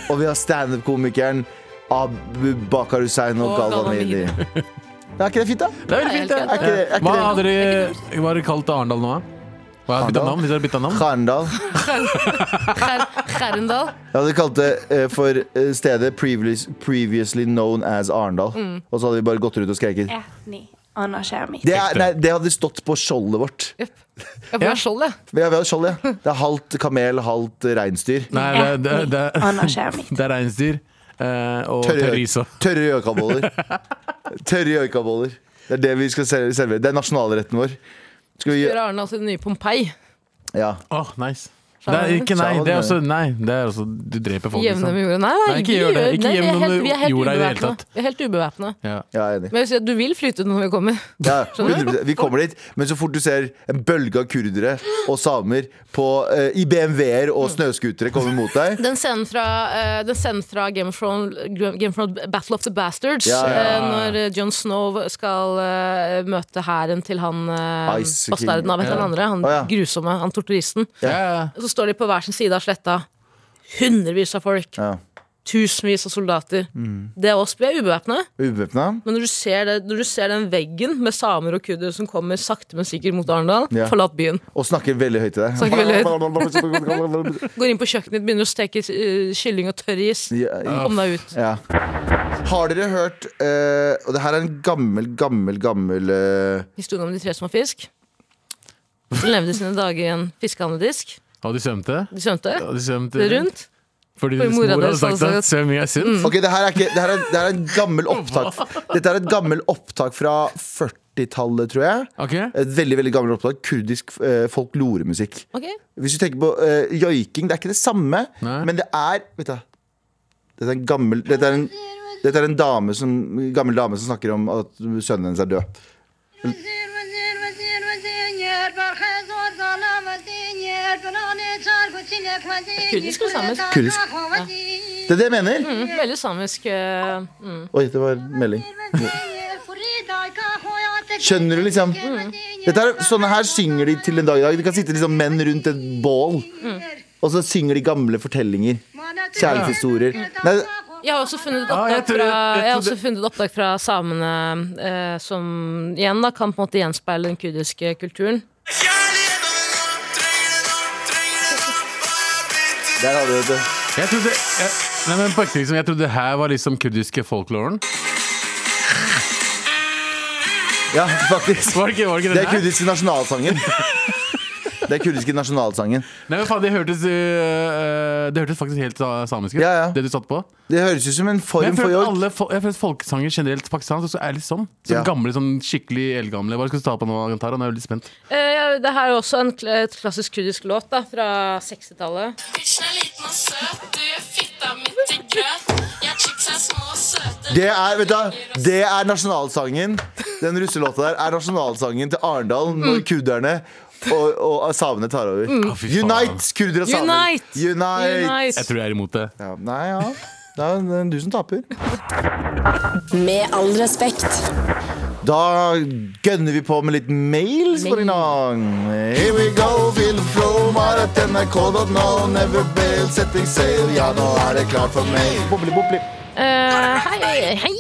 D: Og vi har standup-komikeren Abubakar Hussein og
F: Og
D: Galvan
F: Galvan
D: Mehidi.
F: Mehidi.
D: Er ikke det fint, da?
E: Det er veldig fint,
F: Det er helt
D: Er ikke det,
E: det.
D: er ikke
E: Hva
D: det?
E: hadde dere, hva har dere kalt Arendal nå? da? Hva har bytta
D: Arendal?
E: navn? Hvis dere bytta navn?
D: Karendal.
F: Herrendal.
D: Jeg hadde kalt det eh, for eh, stedet previous, previously known as Arendal. Og så hadde vi bare gått rundt og skreket.
C: Ätni, annars är mitt.
D: Det, er, nei, det hadde stått på skjoldet vårt.
F: Jeg får skjold, jeg.
D: Vi har, vi har skjold, ja. Det er halvt kamel, halvt eh, reinsdyr.
E: Nei, det, det, det,
C: Annars är mitt.
E: det er reinsdyr eh, og
D: Tørre-
E: terroriso.
D: Tørre joikaboller. Tørre joikaboller. Det er det vi skal serve- servere. Det er nasjonalretten vår. Skal vi
F: Gjøre Arendal til den nye Pompeii.
D: Ja.
E: Åh, nice. Det er ikke nei, det er også Nei, det er også Du dreper folk,
F: Jevne med
E: liksom.
F: jorda. Nei, nei,
E: Nei, ikke gjør det. Ikke
F: nei, vi er
E: jevn
F: helt-
E: med
F: vi er helt
E: jorda i det hele
F: ubevæpnet.
E: tatt.
F: Vi er helt ubevæpna.
E: Ja.
D: ja, jeg er enig.
F: Men jeg vil si at du vil flytte ut når vi kommer.
D: Ja, 100%. Vi kommer dit, men så fort du ser en bølge av kurdere og samer på, eh, i BMW-er og snøskutere komme mot deg
F: <laughs> Den scenen fra, eh, den scenen fra Game, of Thrones, Game of Thrones Battle of the Bastards,
D: Ja, ja, ja.
F: eh, når eh, Jon Snow skal eh, møte hæren til han eh,
D: Ice
F: bastarden,
D: King.
F: av et eller andre, han
D: Å, ja.
F: grusomme, han torturisten.
E: Ja, ja.
F: Så står de på hver sin side av sletta. Hundrevis av folk,
D: ja. Mm.
F: tusenvis av soldater. Det er oss, vi er ubevæpna.
D: Ubevæpna?
F: Men når du, ser det, når du ser den veggen med samer og kurdere som kommer sakte, men sikkert mot Arendal,
D: Ja.
F: forlat byen.
D: Og snakker veldig høyt til deg.
F: Snakker veldig
D: høyt.
F: Går inn på kjøkkenet ditt, begynner å steke eh, kylling og tørris.
D: Ja, ja.
F: Kom deg ut.
D: Ja. Har dere hørt eh, Og det her er en gammel, gammel, gammel eh,
F: Historien om de tre små fisk. De levde sine dager i en fiskehandledisk.
E: Og de svømte?
F: De svømte
E: Og de svømte
F: det rundt.
E: Fordi
F: For
E: mora
F: mora
E: hadde
F: deres
E: sagt
F: hadde
E: at svømming er sunt?
D: Ok, det her er, ikke, det her er, det her er en gammel opptak. Dette er et gammel opptak fra 40-tallet, tror jeg.
E: Ok.
D: Et veldig, veldig gammelt opptak. Kurdisk eh, folkloremusikk.
F: Ok,
D: Hvis du tenker på eh, joiking, det er ikke det samme,
E: Nei.
D: men det er Vet du Dette er en gammel Dette er en, dette er en dame som, gammel dame som snakker om at sønnen hennes er død.
G: وزير وزير وزير وزير برخيز والظلام وزير بناني تار قلت لك وزير
F: كرديسك ولا سامس؟
D: كرديسك. Det er det jeg mener!
E: Mm.
F: Mm, Veldig samisk. eh, mm.
D: Oi, det var en melding. Skjønner du, liksom? Dette er, sånne her synger de til en dag i dag. De kan sitte liksom menn rundt et bål, og så synger de gamle fortellinger. Kjærlighetshistorier. Nei,
F: Jeg har også funnet et
E: Ah, jeg
F: opptak
E: tror-
F: fra,
E: jeg
F: jeg har
E: trodde-
F: også funnet et opptak fra samene eh, som igjen da kan på en måte gjenspeile den kurdiske kulturen.
D: der har du det.
E: Jeg trodde jeg, Nei, men på ekte, liksom, jeg trodde det her var liksom kurdiske folkloren.
D: Ja, faktisk.
E: Var det ikke, var det
D: Det
E: ikke den
D: er
E: her? <laughs>
D: kurdiske nasjonalsangen. Det er kurdiske nasjonalsangen.
E: Nei, men faen, det hørtes, øh, øh, det hørtes faktisk helt sa- samisk ut,
D: Ja, ja.
E: det du satt på.
D: Det høres ut som en
E: Men
D: form
E: jeg
D: for
E: føler at
D: joik.
E: alle fol- jeg føler at folkesanger generelt pakistansk også er litt sånn. Sånn
D: Ja.
E: gamle, sånn skikkelig eldgamle. Hva skal du ta på nå, Tara? Nå er jeg veldig spent.
F: Eh, det her er også en kl et klassisk kurdisk låt da, fra 60-tallet.
H: Bitchen er liten og søt, du gjør fitta mi til grøt. Ja, chicks er små og søte.
D: Det er, vet du, det er nasjonalsangen. Den russelåta der er nasjonalsangen til Arendal når kurderne og, og samene tar over.
E: Å, fy faen.
D: Unite, kurdere og samer.
F: Unite!
D: Unite!
F: Nice.
E: Jeg tror jeg er imot det.
D: Ja, nei, ja. Det er det er du som taper.
A: Med all respekt.
D: Da gønner vi på med litt mails for en gang. Here we go, feel flow, maratnrk.no, never bail, setting sail, ja, nå er det klart for mail. Bobli, bobli.
F: Eh, hei, hei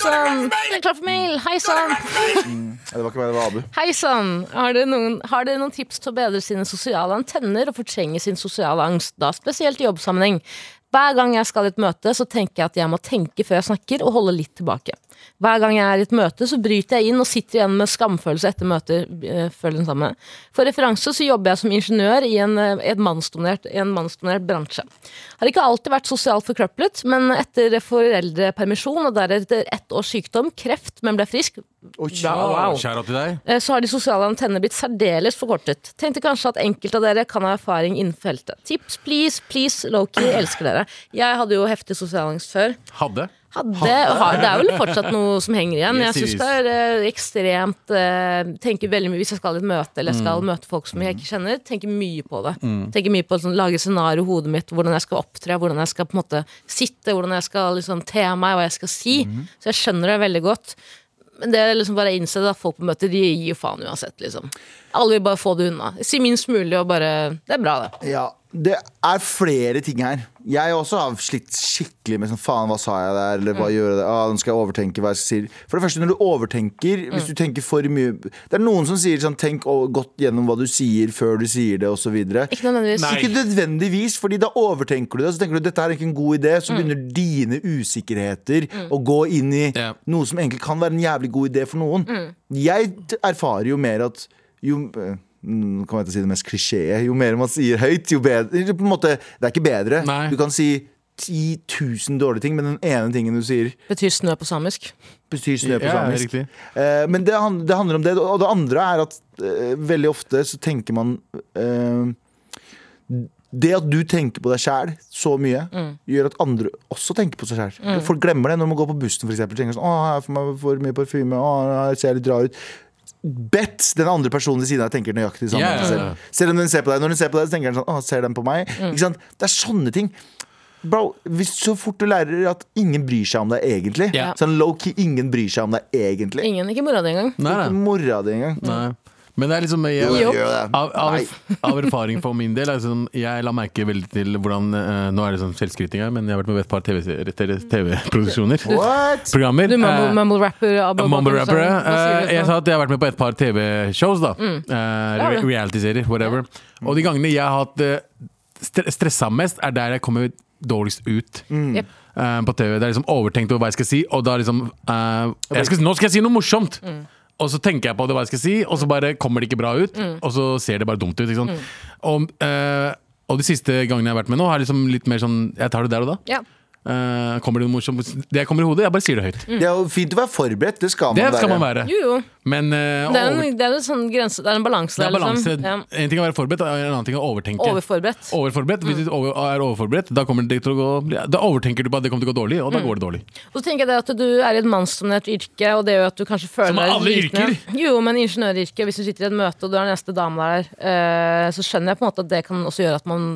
F: sann! Det er klart for mail. Hei sann!
D: Nei, det var ikke meg, det var Abu.
F: Hei sann! Har dere noen, har dere noen tips til å bedre sine sosiale antenner og fortrenge sin sosiale angst, da spesielt i jobbsammenheng? Hver gang jeg skal i et møte, så tenker jeg at jeg må tenke før jeg snakker, og holde litt tilbake. Hver gang jeg er i et møte, så bryter jeg inn og sitter igjen med skamfølelse etter møtet. eh, Føler den samme. For referanse så jobber jeg som ingeniør i en, eh, et mannsdominert, i en mannsdominert bransje. Har ikke alltid vært sosialt forkrøplet, men etter foreldrepermisjon og deretter ett års sykdom, kreft, men ble frisk, wow.
E: Kjære til deg.
F: Eh, så har de sosiale antennene blitt særdeles forkortet. Tenkte kanskje at enkelte av dere kan ha erfaring innen feltet. Tips, please, please, Loki, elsker dere. Jeg hadde jo heftig sosial angst før.
E: Hadde.
F: Hadde, og <laughs> har, det er vel fortsatt noe som henger igjen. Jeg
E: Yes,
F: syns
E: yes.
F: det er eh, ekstremt eh, Tenker veldig mye hvis jeg skal i et møte eller jeg skal møte folk som jeg ikke kjenner. Tenker mye på det. Tenker mye på sånn, Lage scenario i hodet mitt, hvordan jeg skal opptre, hvordan jeg skal på en måte sitte, hvordan jeg skal liksom, te meg, hva jeg skal si. Så jeg skjønner det veldig godt. Men det er liksom bare å innse at folk på møter de gir jo faen uansett, liksom. Alle vil bare få det unna. Si minst mulig og bare Det er bra, det.
D: Ja, det er flere ting her. Jeg også har slitt skikkelig med sånn faen, hva sa jeg der, eller hva gjorde jeg der? Ah, nå skal jeg overtenke hva jeg skal si. For det første, når du overtenker, hvis du tenker for mye Det er noen som sier sånn, tenk o- godt gjennom hva du sier før du sier det, osv.
F: Ikke nødvendigvis.
E: Nei.
D: Ikke nødvendigvis, fordi da overtenker du det. og Så tenker du dette er ikke en god idé,
E: Mm.
D: så begynner dine usikkerheter å gå inn i
E: Ja. Mm.
D: noe som egentlig kan være en jævlig god idé for noen. Jeg t- erfarer jo mer at jo eh, Nå kommer jeg til å si det mest klisjé. Jo mer man sier høyt, jo bedre. Eller På en måte, det er ikke bedre.
E: Nei.
D: Du kan si 10 000 dårlige ting, men den ene tingen du sier,
F: Betyr snø på samisk.
D: betyr snø på
E: Ja,
D: samisk.
E: riktig.
D: Eh, men det, han- det handler om det. Og det andre er at eh, veldig ofte så tenker man eh, Det at du tenker på deg sjæl så mye, gjør at andre også tenker på seg sjæl. Folk glemmer det når man går på bussen for eksempel, tenker sånn, Å, her får man for mye parfyme. Å, her ser jeg litt rar ut. Bet den andre personen ved siden av tenker nøyaktig det samme.
E: Ja, ja,
D: om seg
E: ja.
D: Selv. selv om den ser på deg. Når den ser på deg, så tenker den sånn Å, ser den på meg? Ikke sant? Det er sånne ting. Bro, hvis så fort du lærer at ingen bryr seg om deg egentlig
E: Ja.
D: Sånn low-key, ingen bryr seg om deg egentlig.
F: Ingen, ikke mora di engang.
E: Nei,
D: Ikke
E: nei.
D: mora di engang.
E: nei. Men det er liksom jeg,
D: Jo, gjør det.
E: Av,
D: Nei.
E: av, av erfaring for min del. er det sånn, jeg la merke veldig til hvordan eh, Nå er det sånn selvskryting her, men jeg har vært med ved et par TV-serier- TV- TV-produksjoner.
D: What?
E: Programmer.
F: Du mumble,
E: Eh,
F: mumble rapper Abba
E: Mumble
F: Bakr,
E: rapper,
F: sånn.
E: ja.
F: Hva sier du Mm.
E: Eh, Jeg
F: sånn?
E: sa at jeg har vært med på et par TV-shows, da. Eh,
F: har
E: re-
F: du.
E: Reality-serier, whatever. Og de gangene jeg har hatt eh, stre- stressa mest, er der jeg kommer dårligst ut.
F: Jep.
E: Eh, på TV. Det er liksom overtenkt over hva jeg skal si, og da liksom eh, jeg skal, Nå skal jeg si noe morsomt!
F: Mm.
E: Og så tenker jeg på det hva jeg skal si, og så bare kommer det ikke bra ut.
F: Mm.
E: Og så ser det bare dumt ut. Ikke sant? Og, eh, og de siste gangene jeg har vært med nå, har liksom litt mer sånn Jeg tar det der og da.
F: Ja.
E: Eh, kommer det noe morsomt Det jeg kommer i hodet, jeg bare sier det høyt.
F: Mm.
D: Det er jo fint å være forberedt, det skal man
E: Mm. Det
D: være.
E: skal man være.
F: Jo, jo.
E: Men eh,
F: Det er,
E: over-
F: en, det er en sånn grense, det er en balanse
E: det
F: der,
E: er balanse.
F: liksom. Ja.
E: En ting er å være forberedt, og en annen ting er å overtenke.
F: Overforberedt. Mm.
E: Overforberedt. Hvis du over, er overforberedt, da, kommer det til å gå, da overtenker du på at det kommer til å gå dårlig,
F: Mm.
E: og da går det dårlig.
F: Og så tenker jeg det at du er i et mannsdominert yrke, og det gjør at du kanskje føler
E: Som med
F: deg
E: alle
F: liten.
E: yrker.
F: Jo, men ingeniøryrket, hvis du sitter i et møte og du er den neste dame der, eh, så skjønner jeg på en måte at det kan også gjøre at man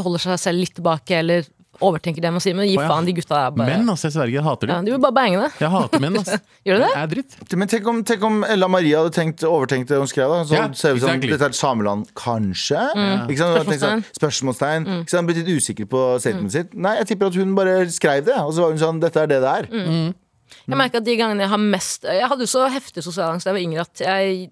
F: holder seg selv litt tilbake, eller overtenker det man sier. Men gi
E: Å, ja.
F: faen, de gutta der bare
E: Menn, altså, jeg sverger, jeg hater
F: ja,
E: det.
F: De vil bare bange det.
E: Jeg hater menn, altså.
F: <laughs> Gjør du det?
E: Jeg er dritt.
D: Men tenk om, tenk om Ella Maria hadde tenkt, overtenkt det hun skrev. da Så
E: Ja,
D: ser vi som,
E: exactly. Mm.
D: Dette er et sameland, kanskje? Ikke sant? Hun hadde tenkt sånn, Spørsmålstegn. Ikke sant? Blitt litt usikker på
E: Mm.
D: statementet sitt. Nei, jeg tipper at hun bare skrev det, og så var hun sånn Dette er det det er.
E: Mm.
F: Jeg merker at de gangene jeg har mest Jeg hadde jo så heftig sosial angst da jeg var yngre at jeg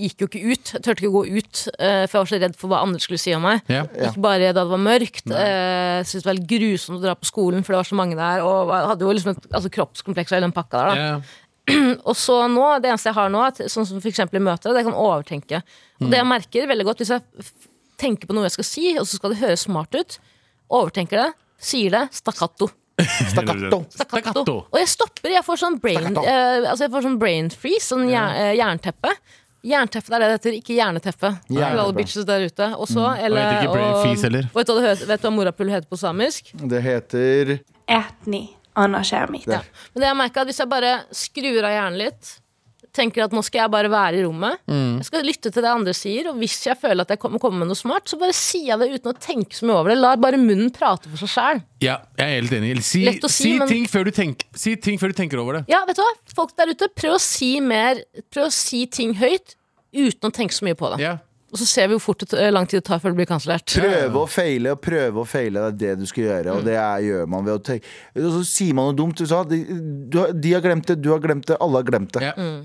F: gikk jo ikke ut. Jeg turte ikke å gå ut, eh, for jeg var så redd for hva andre skulle si om meg.
E: Ja.
F: Ikke bare da det var mørkt. eh, Jeg syntes det var helt grusomt å dra på skolen, for det var så mange der. Og jeg hadde jo liksom et altså, kroppskompleks og hele den pakka der. Da.
E: Ja.
F: Og så nå, det eneste jeg har nå, er at sånn som for eksempel i møter, det kan overtenke. Og det jeg
E: Mm.
F: merker veldig godt, hvis jeg f- tenker på noe jeg skal si, og så skal det høres smart ut, overtenker det, sier det, stakkato.
D: Stakkato.
F: Stakkato. Og jeg stopper, jeg får sånn brain,
D: Stakkato.
F: eh, altså jeg får sånn brain freeze, sånn jer eh, jernteppe. Jernteppe det er det det heter, ikke jerneteppe. Til alle
D: Jerneteppe.
F: bitches der ute. Og så, eller,
E: Mm. heter ikke brain freeze heller.
F: Og vet du hva, det hø- vet du hva morapull heter på samisk?
D: Det heter
C: Ätni, anna kärmit.
F: Ja. Men det jeg merker er at hvis jeg bare skrur av hjernen litt Tenker at nå skal jeg bare være i rommet
E: Mm.
F: Jeg skal lytte til det andre sier Og hvis jeg føler at jeg kommer kommer med noe smart Så bare sier jeg det uten å tenke så mye over det La bare munnen prate for seg selv
E: Ja, jeg er helt enig. Si,
F: Lett å si,
E: si,
F: men-
E: ting før du tenk, si ting før du tenker over det.
F: Ja, vet du hva? Folk der ute, prøv å si mer Prøv å si ting høyt Uten å tenke så mye på det
E: Ja.
F: Og så ser vi hvor fort det, eh, lang tid det tar før det blir kanslert
D: Prøve og feile og prøve og feile. Det er det du skal gjøre.
E: Mm.
D: Og det er, gjør man ved å tenke Og så sier man noe dumt. Du sa de, du, har- de har glemt det, du har glemt det, alle har glemt det.
E: Ja.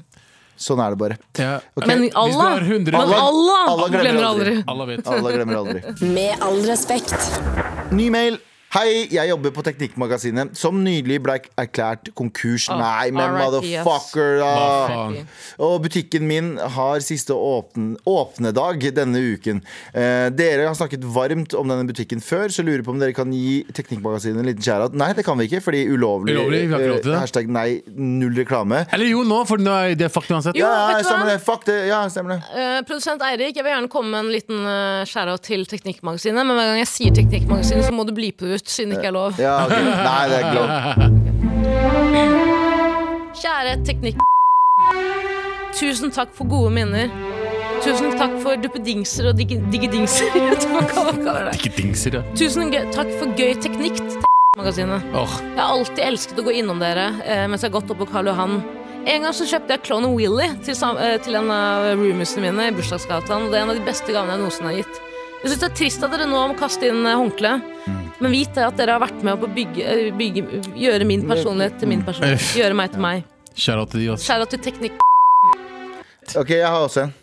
D: Sånn er det
E: <laughs>
D: bare.
E: Ja.
D: Ok.
F: Mm. Men
E: Hvis du
F: Allah,
E: har 100
F: men
E: Allah-
F: Allah,
D: Allah
F: glemmer, aldri,
E: Alle vet.
D: Alle glemmer aldri.
A: Med all respekt.
D: Ny mail. Hei, jeg jobber på Teknikkmagasinet, som nylig ble erklært konkurs.
F: Ah,
D: Nei, men
F: R.I.P., ass.
D: motherfucker,
E: Hva
D: da.
E: faen?
D: Og butikken min har siste åpne, åpne dag denne uken. Eh, dere har snakket varmt om denne butikken før, så lurer på om dere kan gi Teknikkmagasinet en liten shout-out. Nei, det kan vi ikke, fordi ulovlig.
E: Ulovlig, vi har ikke lov til det.
D: eh, Hashtag nei, null reklame.
E: Eller jo, nå, for nå er det fucked uansett.
F: Jo,
D: Ja,
F: vet du hva?
D: stemmer det. Fuck det. Ja, stemmer det.
F: Eh, produsent Eirik, jeg vil gjerne komme med en liten eh, shout-out til Teknikkmagasinet. Men hver gang jeg sier Teknikkmagasinet, så må du bleepe det ut, siden det ikke er lov.
D: Ja, ok. Nei, det er glad.
F: Kjære Teknikk... Tusen takk for gode minner. Tusen takk for duppedingser og digge- diggedingser. vet du hva man kaller- kaller det.
E: Ikke dingser, ja.
F: <laughs> Tusen gøy, takk for gøy teknikk, Teknikkmagasinet.
E: Åh,
F: Jeg har alltid elsket å gå innom dere eh, mens jeg har gått opp på Karl Johan. En gang så kjøpte jeg klonen Willy til, sam- eh, til en av roomiesene mine i bursdagsgaten. Og det er en av de beste gavene jeg noensinne har gitt. Jeg syns det er trist at dere nå må kaste inn eh, håndkle.
D: Mm.
F: Men vit det at dere har vært med på å bygge, eh, bygge, gjøre min personlighet
D: Mm.
F: til min personlighet. Gjøre meg til meg.
E: Shout out til de altså. også.
F: Skjæra til teknikk.
D: Ok, jeg har også en.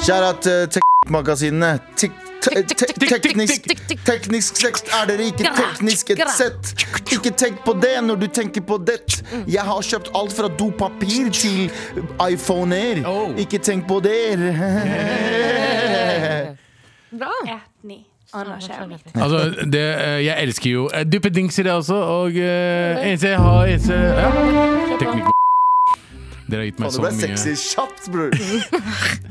D: Kjære at eh, Teknikkmagasinet Tik- te- te- Teknisk Teknisk sekt er dere ikke teknisk et sett. Ikke tenk på det når du tenker på det. Jeg har kjøpt alt fra dopapir til iPhoner.
E: Oh.
D: Ikke tenk på
E: <laughs>
D: det.
F: Bra.
C: Ätni, anna kärmit.
E: Altså, det, eh, jeg elsker jo eh, duppedingser, jeg også. Og eh, eneste jeg har eneste, ja. Teknikk... Dere har gitt meg
D: Faen,
E: så
D: det ble
E: mye.
D: sexy kjapt, bror.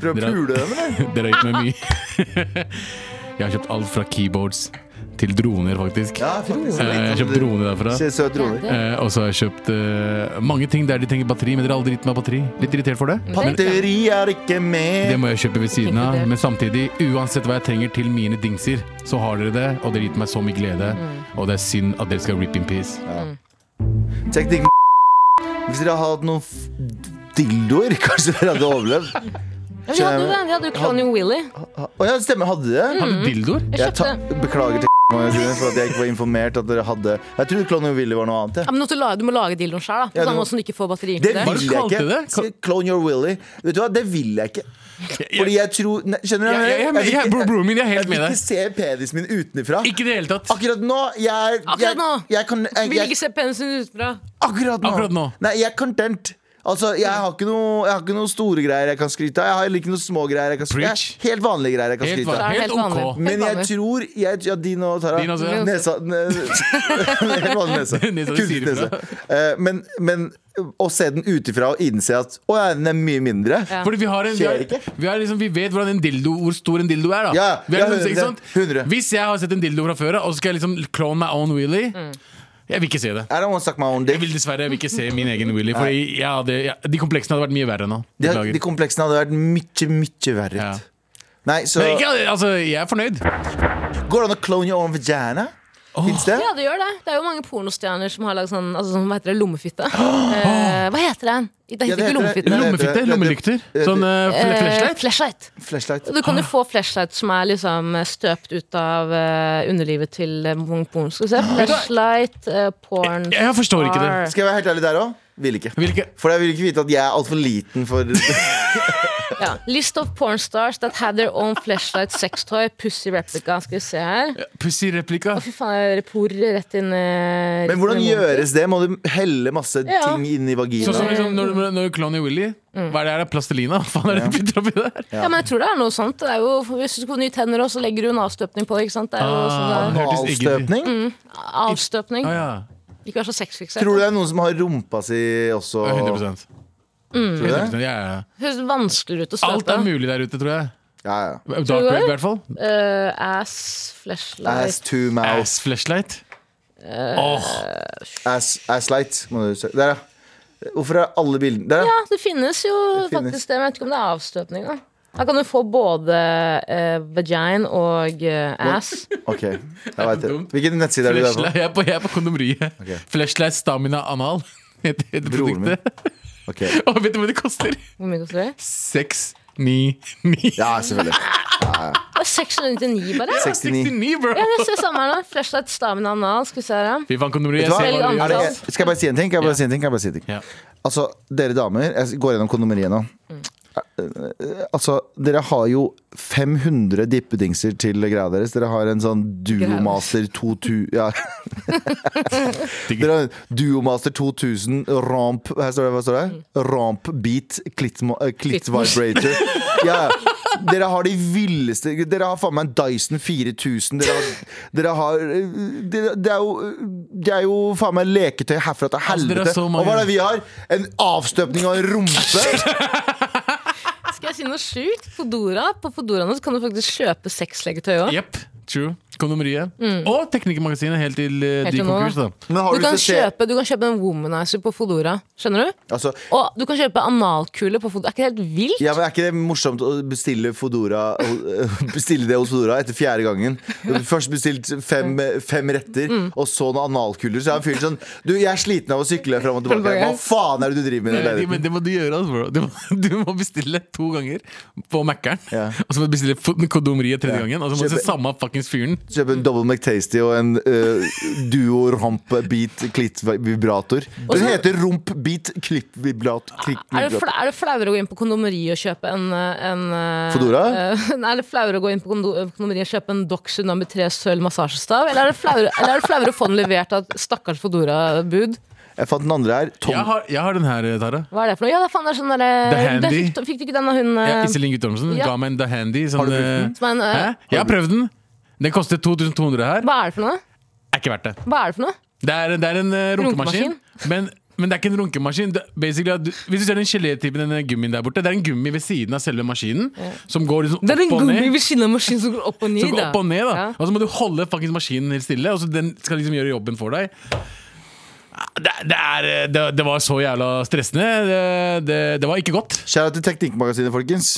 D: Prøv å
E: Dere-
D: pule dem, eller?
E: <laughs> Dere har gitt meg mye. <laughs> Jeg har kjøpt alt fra keyboards til droner, faktisk.
D: Ja, faktisk.
E: Eh, Jeg har
D: sånn
E: kjøpt droner derfra.
D: Se, Søt drone.
E: Eh, og så har jeg kjøpt eh, mange ting der de trenger batteri, men dere har aldri gitt meg batteri. Litt irritert for det.
D: Mm.
E: Men
D: Batteri er ikke
E: det
D: med.
E: må jeg kjøpe ved siden av. Men samtidig, uansett hva jeg trenger til mine dingser, så har dere det, og dere har gitt meg så mye glede. Og det er synd at dere skal rip in peace.
D: Teknikk Hvis dere hadde hatt noen f- dildoer, <laughs> kanskje dere hadde overlevd.
F: Ja, vi hadde jo det. Vi hadde jo klonen Willy.
D: Å ja, det stemmer. Hadde dere?
E: Har du dildoer?
F: Mm. Jeg
D: Jeg
F: kjøpte
D: ta-
F: det.
D: beklager til magasinet for at jeg ikke var informert at dere hadde Jeg trodde Clone Willy var noe annet.
F: Ja,
D: jeg.
F: men du, lage, du må lage dildoen sjøl, da. På
D: Ja, du
F: samme
D: må-
F: måte som du ikke får batteri
D: Det
F: til det.
E: Hva
D: vil
E: du
D: jeg
E: kalte
D: ikke.
E: det? Ka-
D: Si Clone your willy. Vet du hva, det vil jeg ikke. Fordi jeg tror Nei, Skjønner du?
E: Jeg- jeg er med- jeg- bro- broren min, jeg er helt
D: vil
E: med
D: ikke se pedisen min utenfra.
E: Ikke i det hele tatt.
D: Akkurat nå jeg, er-
F: Akkurat
D: jeg,
F: nå.
D: Jeg kan, jeg,
F: Vil
D: jeg,
F: ikke se penisen utenfra.
D: akkurat, nå.
E: Akkurat nå.
D: Nei, jeg er content. Altså, jeg har, ikke noe, jeg har ikke noe store greier jeg kan skryte av. Jeg har heller ikke noen små greier jeg kan skryte av.
E: Preach.
D: Helt vanlige greier jeg kan
E: Helt,
D: skryte av.
E: va-
F: er det helt
E: helt OK.
F: vanlig.
D: Men jeg
F: vanlig.
D: tror jeg, Ja, din og Tara.
E: Din også, ja.
D: Nesa ne, <laughs> Helt vanlig nese.
E: <laughs> Nesa du sier
D: Kunstnese.
E: ifra.
D: Eh, men, men å se den utifra og innse at å ja, den er mye mindre
F: Ja.
E: Fordi vi har en, vi,
D: Skjer
E: har,
D: ikke?
E: vi, har liksom, vi vet hvordan en dildo, hvor stor en dildo er. da
D: Ja,
E: vi er
D: ja,
E: liksom- ikke
D: 100,
E: sant?
D: 100.
E: Hvis jeg har sett en dildo fra før av, og så skal jeg liksom clone my own willy Jeg vil ikke se det.
D: I don't want to suck my own
E: Jeg
D: dick.
E: vil dessverre jeg vil ikke se min egen willy. Fordi jeg hadde, jeg, de kompleksene hadde vært mye verre nå.
D: De,
E: Beklager.
D: de kompleksene hadde vært mye, mye verre
E: Ja.
D: ut. Nei, så
E: Men ikke, altså, jeg er fornøyd.
D: Går det an å clone your own vagina? Fins det?
F: Ja, det gjør det. Det er jo mange pornostjerner som har lagd sånn altså, sånn, Hva heter det? Lommefitte.
E: <gasps>
F: Eh, hva heter den? Det
D: Ja,
F: heter
D: det
F: ikke
D: heter det.
F: lommefitte.
D: Nei, det-
E: Lommefitte,
D: det-
E: lommelykter.
D: det-
E: Sånn eh, fl-
F: Eh,
E: flashlight.
F: flashlight.
D: Flashlight.
F: Du
E: Ah.
F: kan jo få flashlight som er liksom støpt ut av eh, underlivet til eh, mange porno. Skal vi se. Flashlight, eh, porn
E: Jeg- jeg forstår ikke det.
F: star.
D: Skal jeg være helt ærlig der òg? Vil ikke.
E: Hvilke
D: For jeg vil ikke vite at jeg er altfor liten for
F: Ja. List of pornstars that had their own flashlight sex toy. Pussy replica. Skal vi se her.
E: eh, Pussy-replika.
F: Fy faen, jeg er por rett inn eh, rett inn i
D: Men hvordan
F: munnen.
D: gjøres det? Må du helle masse
F: Ja.
D: ting inn i
E: Sånn som
D: vaginaen?
E: liksom, når, når- når Clowny Willy Hva er det her? Plastelina? <laughs> Hva faen er det du putter oppi der?
F: Ja, men jeg tror det er noe sånt. Det er jo, hvis du får nye tenner, også, så legger du en avstøpning på det. ikke sant? Det er jo
E: Ah.
F: sånn det er.
E: hørtes ikke ut.
D: Analstøpning?
F: Avstøpning.
E: Ah, ja.
F: Ikke vær så sexfiksert.
D: Tror du det er noen som har rumpa si også?
E: 100
D: Tror du det?
E: 100%, ja, ja.
F: Høres vanskeligere ut å støpe.
E: Alt er mulig der ute, tror jeg.
D: Ja, ja.
E: Dark web, i hvert fall.
F: Eh, ass, flashlight
D: Ass to mouth.
E: Ass flashlight.
F: Eh,
D: Ass, ass light. Må du se. Der, ja. Hvorfor er alle bildene Der,
F: Ja,
D: ja.
F: det finnes jo
D: Det finnes.
F: faktisk det. Men jeg vet ikke om det er avstøpning, da. Da kan du få både eh, vagina og eh, ass.
D: Ok, jeg vet det.
E: dumt.
D: Hvilken nettside er du der på?
E: Flashlight. Jeg er på, jeg er på kondomeriet.
D: Ok.
E: Flashlight stamina anal. <laughs> Heter heter
D: Broren min.
E: <laughs> produktet.
D: Ok.
E: Og vet du hva det koster?
F: Hvor mye koster det?
E: <laughs> 699.
D: Ja,
E: <laughs>
D: selvfølgelig.
F: Det er 699, bare.
D: 69.
E: 69, bro!
F: Ja, jeg ser samme her nå. Flashlight, stamina, anal. Skal vi se her, ja.
E: Fy faen, kondomeriet.
D: Vet du hva?
E: Jeg ser hva
F: Veldig
E: du gjør.
D: Er det,
F: annerledes.
D: skal jeg bare si en ting? Kan jeg bare si en ting? Kan jeg bare si en ting?
E: Ja.
D: Altså, dere damer Jeg går gjennom kondomeriet nå. Eh, Altså, dere har jo 500 dippedingser til greia deres. Dere har en sånn Duomaster 2000 ja. Dere har en Duomaster 2000 ramp Her står det, hva står det? Ramp beat clit, mo- eh, clit vibrator. Ja, ja. dere har de villeste Dere har faen meg en Dyson 4000. Dere har, dere har eh, dere, Det er jo Det er jo faen meg leketøy herfra til
E: Altså, dere
D: helvete.
E: har så mange-
D: Og hva er det vi har? En avstøpning av en
E: <laughs>
D: rumpe?
F: Skal jeg si noe sjukt? Fodora. På Fodora nå så kan du faktisk kjøpe sexlegetøy òg.
E: Jepp. True. Kondomeriet. Og Teknikermagasinet, helt til eh,
F: Mm. Helt
E: de
F: til nå,
E: konkurs,
F: da.
E: da.
D: Men har
F: Du,
D: du
F: kan
D: lyst til å se-
F: kjøpe- du kan kjøpe en womanizer på Fodora. Skjønner du?
D: Altså,
F: Og du kan kjøpe analkule på Fodora. Er ikke det helt vilt?
D: ja, men Er ikke det morsomt å bestille Fodora <laughs> Bestille det hos Fodora etter fjerde gangen? Først bestilt fem, fem retter,
F: Mm.
D: og så noen analkuler. Så er han fyren sånn Du, jeg er sliten av å sykle fram og tilbake. Hva faen er det du driver med? i
E: Nei, Eh, de-
D: leiligheten?»
E: Men det må du gjøre, altså, bro. Du må, <laughs> du må bestille to ganger på Mækkern.
D: Ja.
E: Og så må du bestille fo- kondomeriet tredje
D: Ja.
E: gangen. Og så må du se
D: Kjøpe-
E: samme fuckings fyren.
D: Kjøpe en Double McTasty og en eh, Duo Romp Beat Klitt Vibrator. Den heter Romp Beat Klitt Vibrator. Klitt
F: Er det,
D: vibrator.
F: fla, er det flauere å gå inn på kondomeriet og kjøpe en, eh, en eh,
D: Fodora?
F: eh, <laughs> nei, er det flauere å gå inn på kondo- kondomeriet og kjøpe en Doxy nummer tre sølv massasjestav? Eller er det flauere, eller er det flauere å få den levert av et stakkars Fodora-bud?
D: Jeg fant den andre her. Tom,
E: Jeg har, jeg har den her, eh, Tara.
F: Hva er det for noe? Ja, det er faen, det er sånn derre-
E: The Handy.
F: det fikk, fikk du ikke den av hun eh,
E: Ja, Iselin Guttormsen
F: ja.
E: ga meg en The Handy. Sånn,
D: Har du brukt den?
E: eh,
F: som er en, eh,
E: Hæ? Jeg har prøvd den. Den koster 2200 her.
F: Hva er det for noe?
E: Er ikke verdt det.
F: Hva er det for noe?
E: Det er, det er en eh, runkemaskin. Men, men det er ikke en runkemaskin. Det, basically, at du, hvis du ser den gelétypen, den eh, gummien der borte, det er en gummi ved siden av selve maskinen som går liksom
F: Det er en
E: opp og
F: gummi
E: ned.
F: ved siden av maskinen som går opp og ned.
E: Som går opp og ned, da.
F: Ja.
E: Og så må du holde fucking maskinen helt stille, og så den skal liksom gjøre jobben for deg. Det, det, er, eh, det, det var så jævla stressende. Det, det, det var ikke godt. <laughs>
D: Kjære til Teknikkmagasinet, folkens.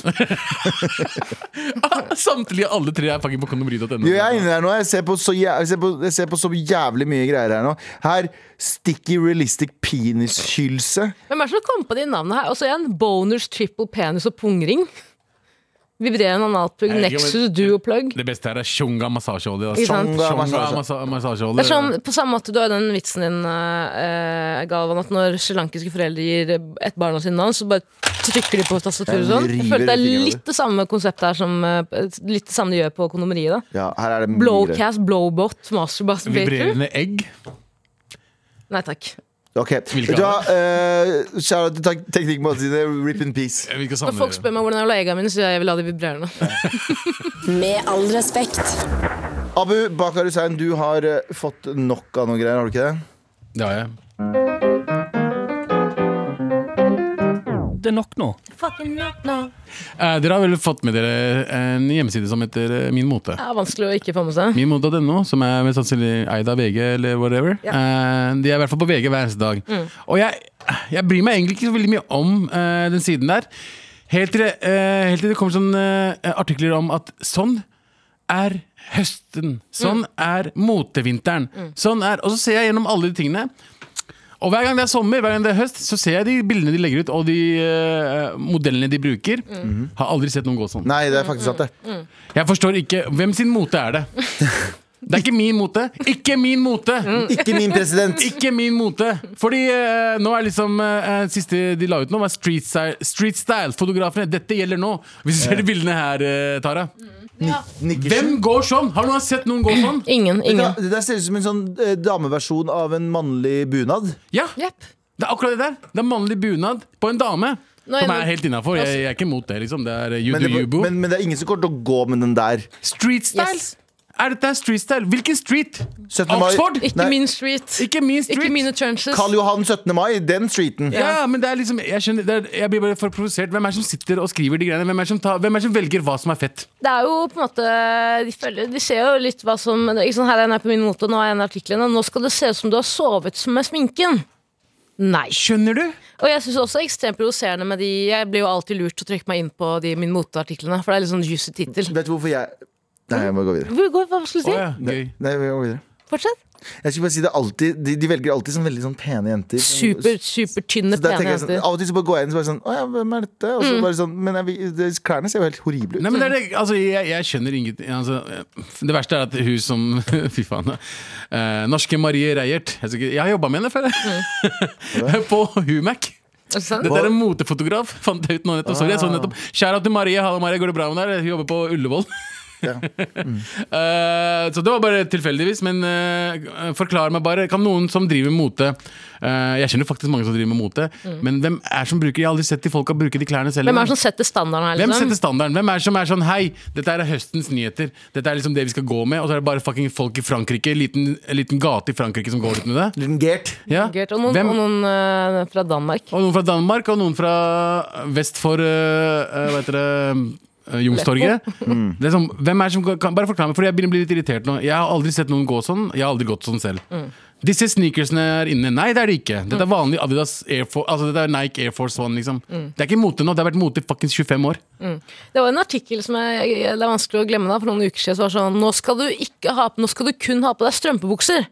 E: Samtlige alle tre er fucking på kondomeri.no.
D: Jo, jeg er inne der nå. Jeg ser, på så jævlig, jeg, ser på, jeg ser på så jævlig mye greier her nå. Her Sticky Realistic Penishylse.
F: Hvem er det som kom på de navnene her? Og så igjen, boners, triple penis og pungring. Vibrerende analplugg,
E: Jeg vet ikke, men-
F: nexus, duoplugg.
E: Det beste her er Tjonga massasjeolje. da.
F: Ikke sant?
D: Tjonga
E: Tjonga
D: massasje.
E: massa- massasjeolje.
F: Det er sånn, På samme måte du har den vitsen din, eh, eh, Galvan, at når srilankiske foreldre gir et barn av sine navn, så bare trykker de på tastaturet
D: Jeg
F: sånn. Jeg
D: river
F: føler det er
D: fingrene.
F: litt det samme konseptet her som eh, litt det samme de gjør på kondomeriet. da
D: Ja, her er det mye greier.
F: Blowcast, blowbot, masterbuster.
E: Vibrerende egg.
F: Nei takk.
D: Ok,
E: Hvilke
D: da, eh, Kjære til Tek- Teknikkmagasinet, rip in peace.
E: Jeg vil ikke
F: Når
E: savne
F: folk
E: det.
F: spør meg hvordan jeg vil ha eggene mine, så sier jeg jeg vil ha de vibrerende.
A: Med all respekt.
D: Abu Bakar Hussein, du har eh, fått nok av noen greier, har du ikke det?
E: Det har jeg.
I: Det er nok nå.
E: Eh, dere har vel fått med dere en hjemmeside som heter eh, Min mote.
F: Det er vanskelig å ikke få med seg.
E: Minmote.no, som er mest sannsynlig eid av VG eller whatever. Eh, de er i hvert fall på VG hver eneste dag. Og jeg, jeg bryr meg egentlig ikke så veldig mye om eh, den siden der. Helt til, det- eh, helt til det kommer sånne eh, artikler om at sånn er høsten. Sånn er motevinteren. Sånn er, og så ser jeg gjennom alle de tingene. Og hver gang det er sommer, hver gang det er høst, så ser jeg de bildene de legger ut, og de eh, modellene de bruker. Har aldri sett noen gå sånn.
D: Nei, det er faktisk sant, det.
E: Jeg forstår ikke Hvem sin mote er det? Det er ikke min mote. Ikke min mote!
D: Ikke min president.
E: Ikke min mote! Fordi eh, nå er liksom eh, Siste de la ut nå, var Street, Style- street Style-fotografene. Dette gjelder nå! Hvis du ser de bildene her, eh, Tara. Hvem går sånn? Har noen sett noen gå sånn?
F: Ingen.
D: Det,
F: ingen
D: det der ser ut som en sånn eh, dameversjon av en mannlig bunad.
E: Ja!
F: Jepp.
E: Det er akkurat det der. Det er mannlig bunad på en dame.
F: Nå er
E: Som
F: jeg-
E: er helt innafor. Jeg, jeg er ikke imot det, liksom. Det er eh, you
D: Men det,
E: do you, boo.
D: men, men det er ingen som kommer til å gå med den der.
E: Street style?
F: Yes.
E: Er dette street style? Hvilken street?
D: 17. mai-
E: Oxford?
F: Ikke
D: Nei.
F: min street.
E: Ikke min street.
F: Ikke mine trenches.
D: Karl Johan 17. mai, den streeten.
E: ja. men det er liksom Jeg, skjønner, det er, jeg blir bare for provosert. Hvem er det som sitter og skriver de greiene? Hvem er det som, tar, hvem er det som velger hva som er fett?
F: Det er jo på en måte De, følger, de ser jo litt hva som ikke sånn, Her er en her på min mote, nå er en artiklene. Nå skal det se ut som du har sovet med sminken. Nei.
E: Skjønner du?
F: Og jeg syns også det er ekstremt provoserende med de Jeg blir jo alltid lurt til å trekke meg inn på de min moteartiklene, for det er litt sånn juicy tittel.
D: Vet du hvorfor jeg Nei, jeg må gå videre.
F: Hvor- hvor- Hva skulle du si?
E: Å ja, gøy.
D: Nei, jeg må gå videre.
F: Fortsett.
D: Jeg skulle bare si det er alltid De, de velger alltid sånn veldig sånn pene jenter.
F: Super,
D: Så
F: supertynne,
D: der
F: pene
D: tenker jeg sånn,
F: jenter. Mm.
D: Av og til så bare går jeg inn og bare sånn Å ja, hvem er dette? Og så bare sånn Men er vi, det, klærne ser jo helt horrible ut.
E: Nei, men det er det, altså, jeg, jeg skjønner ingenting altså, Det verste er at hun som <laughs> Fy faen. eh, norske Marie Reiert. Jeg, skal ikke- jeg har jobba med henne før. <laughs> på Humac.
F: Er det sant?
E: Dette er en motefotograf. Fant jeg ut nå nettopp. Sorry, jeg så det nettopp. Shout out til Marie. Hallo, Marie. Går det bra med deg? Hun jobber på Ullevål. <laughs>
D: Mm.
E: Eh, så det var bare tilfeldigvis, men eh, forklar meg bare. Kan noen som driver med mote eh, Jeg kjenner faktisk mange som driver med mote, men hvem er som bruker Jeg har aldri sett de folka bruke de klærne selv.
F: Mm. Hvem er det som setter standarden her,
E: Hvem setter
F: liksom?
E: standarden? Hvem er det som er sånn Hei, dette er høstens nyheter. Dette er liksom det vi skal gå med. Og så er det bare fucking folk i Frankrike, en liten, en liten gate i Frankrike som går ut med det.
D: Liten Gert.
E: Ja.
F: Gert, Og noen,
E: Hvem-
F: og noen eh, fra Danmark.
E: og noen fra Danmark, og noen fra vest for øh, øh, Hva heter det? øh, Youngstorget. <laughs> Det er sånn, hvem er det som kan, Bare forklar meg, for jeg begynner å bli litt irritert nå. Jeg har aldri sett noen gå sånn. Jeg har aldri gått sånn selv. Disse sneakersene er inne. Nei, det er de ikke. Dette er vanlig Adidas Air Force Altså dette er Nike Air Force One, liksom. Det er ikke mote nå. Det har vært mote i fuckings 25 år.
F: Det var en artikkel som jeg, jeg- det er vanskelig å glemme da, for noen uker siden. som var sånn, nå skal du, ikke ha, nå skal du kun ha på deg strømpebukser.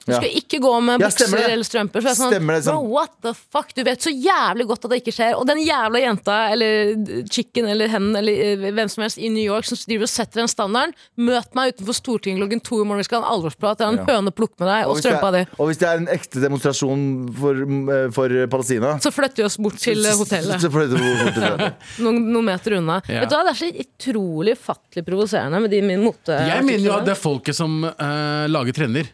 F: Du skal ikke gå med
D: Ja,
F: bukser
D: stemmer det.
F: eller strømper. Så jeg er sånn,
D: Stemmer det, sånn.
F: Bro, what the fuck? Du vet så jævlig godt at det ikke skjer. Og den jævla jenta eller chicken eller hen eller eh, hvem som helst i New York som driver og setter den standarden, møt meg utenfor Stortinget klokken to i morgen. Vi skal ha en alvorsprat. Jeg har en høne å plukke med deg, og
D: hvis det
F: strømpa di.
D: er, og hvis det er en ekte demonstrasjon for, eh, for Palestina
F: Så flytter vi oss bort til eh, hotellet.
D: Så flytter vi bort til
F: <laughs>
D: hotellet.
F: Noen, noen meter unna.
E: Ja.
F: Vet du hva, Det er så utrolig ufattelig provoserende med de min mote.
E: Jeg mener jo at det er folket som øh, lager trender.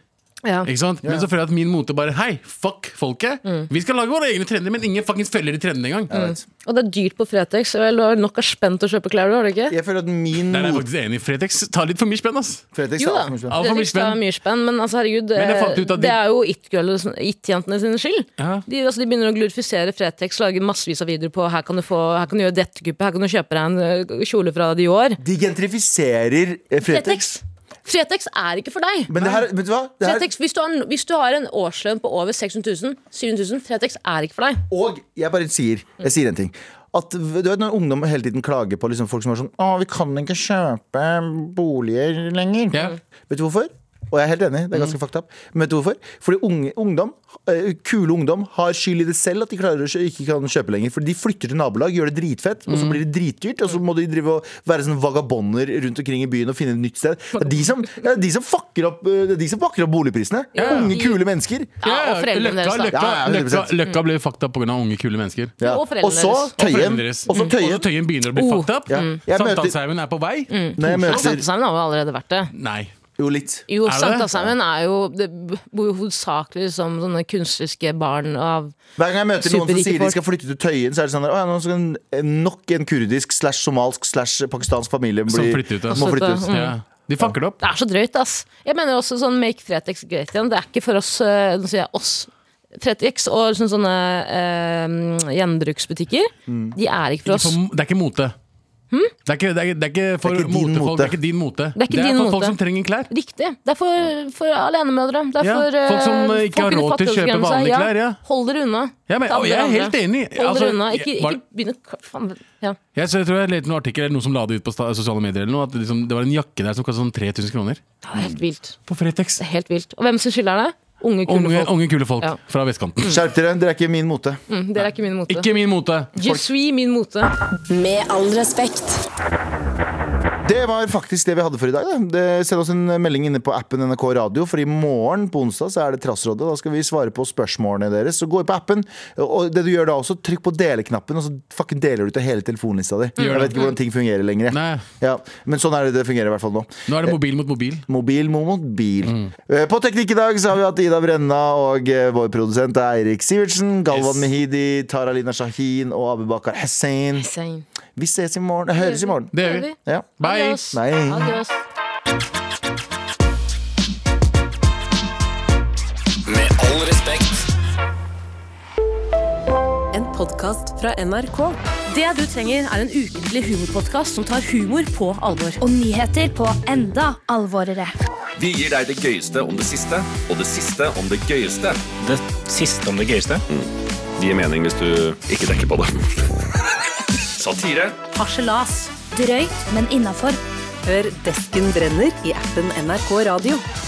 F: ja.
E: Ikke sant? Men så føler jeg at min mote bare Hei, fuck folket! Vi skal lage våre egne trender, men ingen fuckings følger de trendene engang.
F: Og det er dyrt på Fretex. og Du har nok av spenn til å kjøpe klær, du, har du ikke?
D: Jeg føler at min
E: Der er jeg
D: mot
E: faktisk enig. Fretex tar litt for mye spenn, ass.
D: Fretex
F: Jo da.
D: er alt for mye spenn.
E: Alt for mye
F: Fretex tar
E: spenn.
F: mye spenn, men altså, herregud,
E: Men jeg fant ut
F: det,
E: at de-
F: det er jo it-girls- it-jentene sine skyld.
E: Ja.
F: De, altså, de begynner å glorifisere Fretex, lager massevis av videoer på her kan du, få, her kan du gjøre dette kuppet, her kan du kjøpe deg en ø, kjole fra Dior.
D: De gentrifiserer eh, Fretex.
F: Fretex. Fretex er ikke for deg.
D: Men det her, vet du hva? Det her,
F: Fretex, hvis, du har, en- hvis du har en årslønn på over 600 000, 700 000, Fretex er ikke for deg.
D: og jeg bare sier Jeg sier en ting. At, du vet Når ungdom hele tiden klager på liksom folk som er sånn Å, vi kan ikke kjøpe boliger lenger.
E: Ja. Mm.
D: Vet du hvorfor? Og jeg er helt enig, det er ganske fucked up. Men vet du hvorfor? Fordi unge, ungdom, eh, kule ungdom har skyld i det selv at de klarer å kjø- ikke kan kjøpe lenger. For de flytter til nabolag, gjør det dritfett, og
E: Mm.
D: så blir det dritdyrt. Og så må de drive og være sånne vagabonder rundt omkring i byen og finne et nytt sted. Det er de som, det er de som, fucker, opp, eh, det er de som fucker opp boligprisene. Unge, kule mennesker.
F: Ja, og foreldrene
E: Løkka,
F: deres, da.
E: Løkka,
D: Ja, ja, 100%.
E: Løkka, løkka ble fucked up pga. unge, kule mennesker.
D: Ja.
F: Og foreldrene
D: Og så
F: deres. Og
D: Tøyen.
E: Foreldrene deres. Mm.
D: Og så
E: Og så
D: Tøyen.
E: Tøyen begynner å bli
F: Oh. Mm.
E: fucked up.
D: Ja. Jeg møter-
E: Sankthanshaugen er på vei.
D: Når jeg møter
F: Samtidig har vi allerede vært det.
E: Nei.
D: Jo, litt.
F: Jo,
E: Er det det?
F: Sankthanshaugen er jo Det bor jo hovedsakelig som sånne kunstneriske barn av
D: Hver gang jeg møter noen som
F: Superrike
D: sier de
F: folk.
D: skal flytte til Tøyen, så er det sånn der, «Å ja, nå skal en- en- nok en kurdisk slash somalsk slash pakistansk familie bli,
E: Som flytter ut, ja.
D: må flytte ut.
F: Mm.
E: Ja. De fucker det opp.
F: Det er så drøyt, ass. Jeg mener også sånn Make Fretex great igjen. Det er ikke for oss eh, Nå sier jeg oss. Fretex og sånne, sånne eh, gjenbruksbutikker, de er ikke for
E: Mm. Ikke
F: oss.
E: for- Det er ikke mote. Det er ikke, det er, ikke- det er ikke for
D: Det er ikke din
E: motefolk.
D: mote.
E: Det er ikke din mote.
F: Hm? Det er ikke din
E: for
F: mote.
E: folk som trenger klær.
F: Riktig. Det er for, for alenemødre. Det er
E: Ja,
F: for eh,
E: folk som, eh, ikke har
F: under
E: råd til å kjøpe
F: fattigdomsgrensa.
E: vanlige klær, ja.
F: Hold dere unna.
E: Ja, men-
F: Ta
E: og jeg er
F: hverandre.
E: helt enig.
F: Hold
E: Altså,
F: dere unna. Ikke,
E: jeg-
F: ikke
E: var-
F: begynn å faen, ja.
E: Jeg, så jeg tror jeg leste en artikkel eller noen som la det ut på sta- sosiale medier. Eller noe, at liksom, det var en jakke der som kostet sånn 3000 kroner.
F: Det er helt vilt.
E: På Fretex.
F: Det er helt vilt. Og hvem som skylder det? Unge, kule
E: Unge,
F: folk.
E: unge, kule folk
F: Ja.
E: fra vestkanten.
D: Skjerp dere, dere er ikke min mote.
F: Mm, dere er ikke min mote.
E: Ikke min mote.
F: Je suis min mote.
A: Med all respekt.
D: Det var faktisk det vi hadde for i dag. Da. Det, send oss en melding inne på appen NRK Radio, for i morgen på onsdag så er det Trassrådet. Da skal vi svare på spørsmålene deres. Så gå inn på appen, og det du gjør da også, trykk på deleknappen, og så fucking deler du til hele telefonlista di. Jeg vet ikke hvordan ting fungerer lenger. jeg.
E: Nei.
D: Ja, men sånn er det det fungerer i hvert fall nå.
E: Nå er det mobil mot mobil.
D: Mobil mot mobil.
E: Mm.
D: Eh, På Teknikk i dag så har vi hatt Ida Brenna og eh, vår produsent er Eirik Sivertsen, Galvan
E: Yes.
D: Mehidi, Tara Lina Shahin og Abubakar Hussein.
F: Same.
D: Vi ses i morgen. Høres i morgen.
E: Det gjør vi.
D: Ja.
E: Bye!
F: Adios.
D: Nei.
F: Adios.
B: Med all respekt.
A: En podkast fra NRK.
F: Det du trenger, er en ukentlig humorpodkast som tar humor på alvor.
J: Og nyheter på enda alvorere.
K: Vi gir deg det gøyeste om det siste, og det siste om det gøyeste. Mm.
I: Det siste om det gøyeste.
K: Det gir mening hvis du ikke tenker
I: <laughs>
K: på det. Satire.
F: Harselas.
J: Drøyt, men innafor.
A: Hør Desken brenner i appen NRK Radio.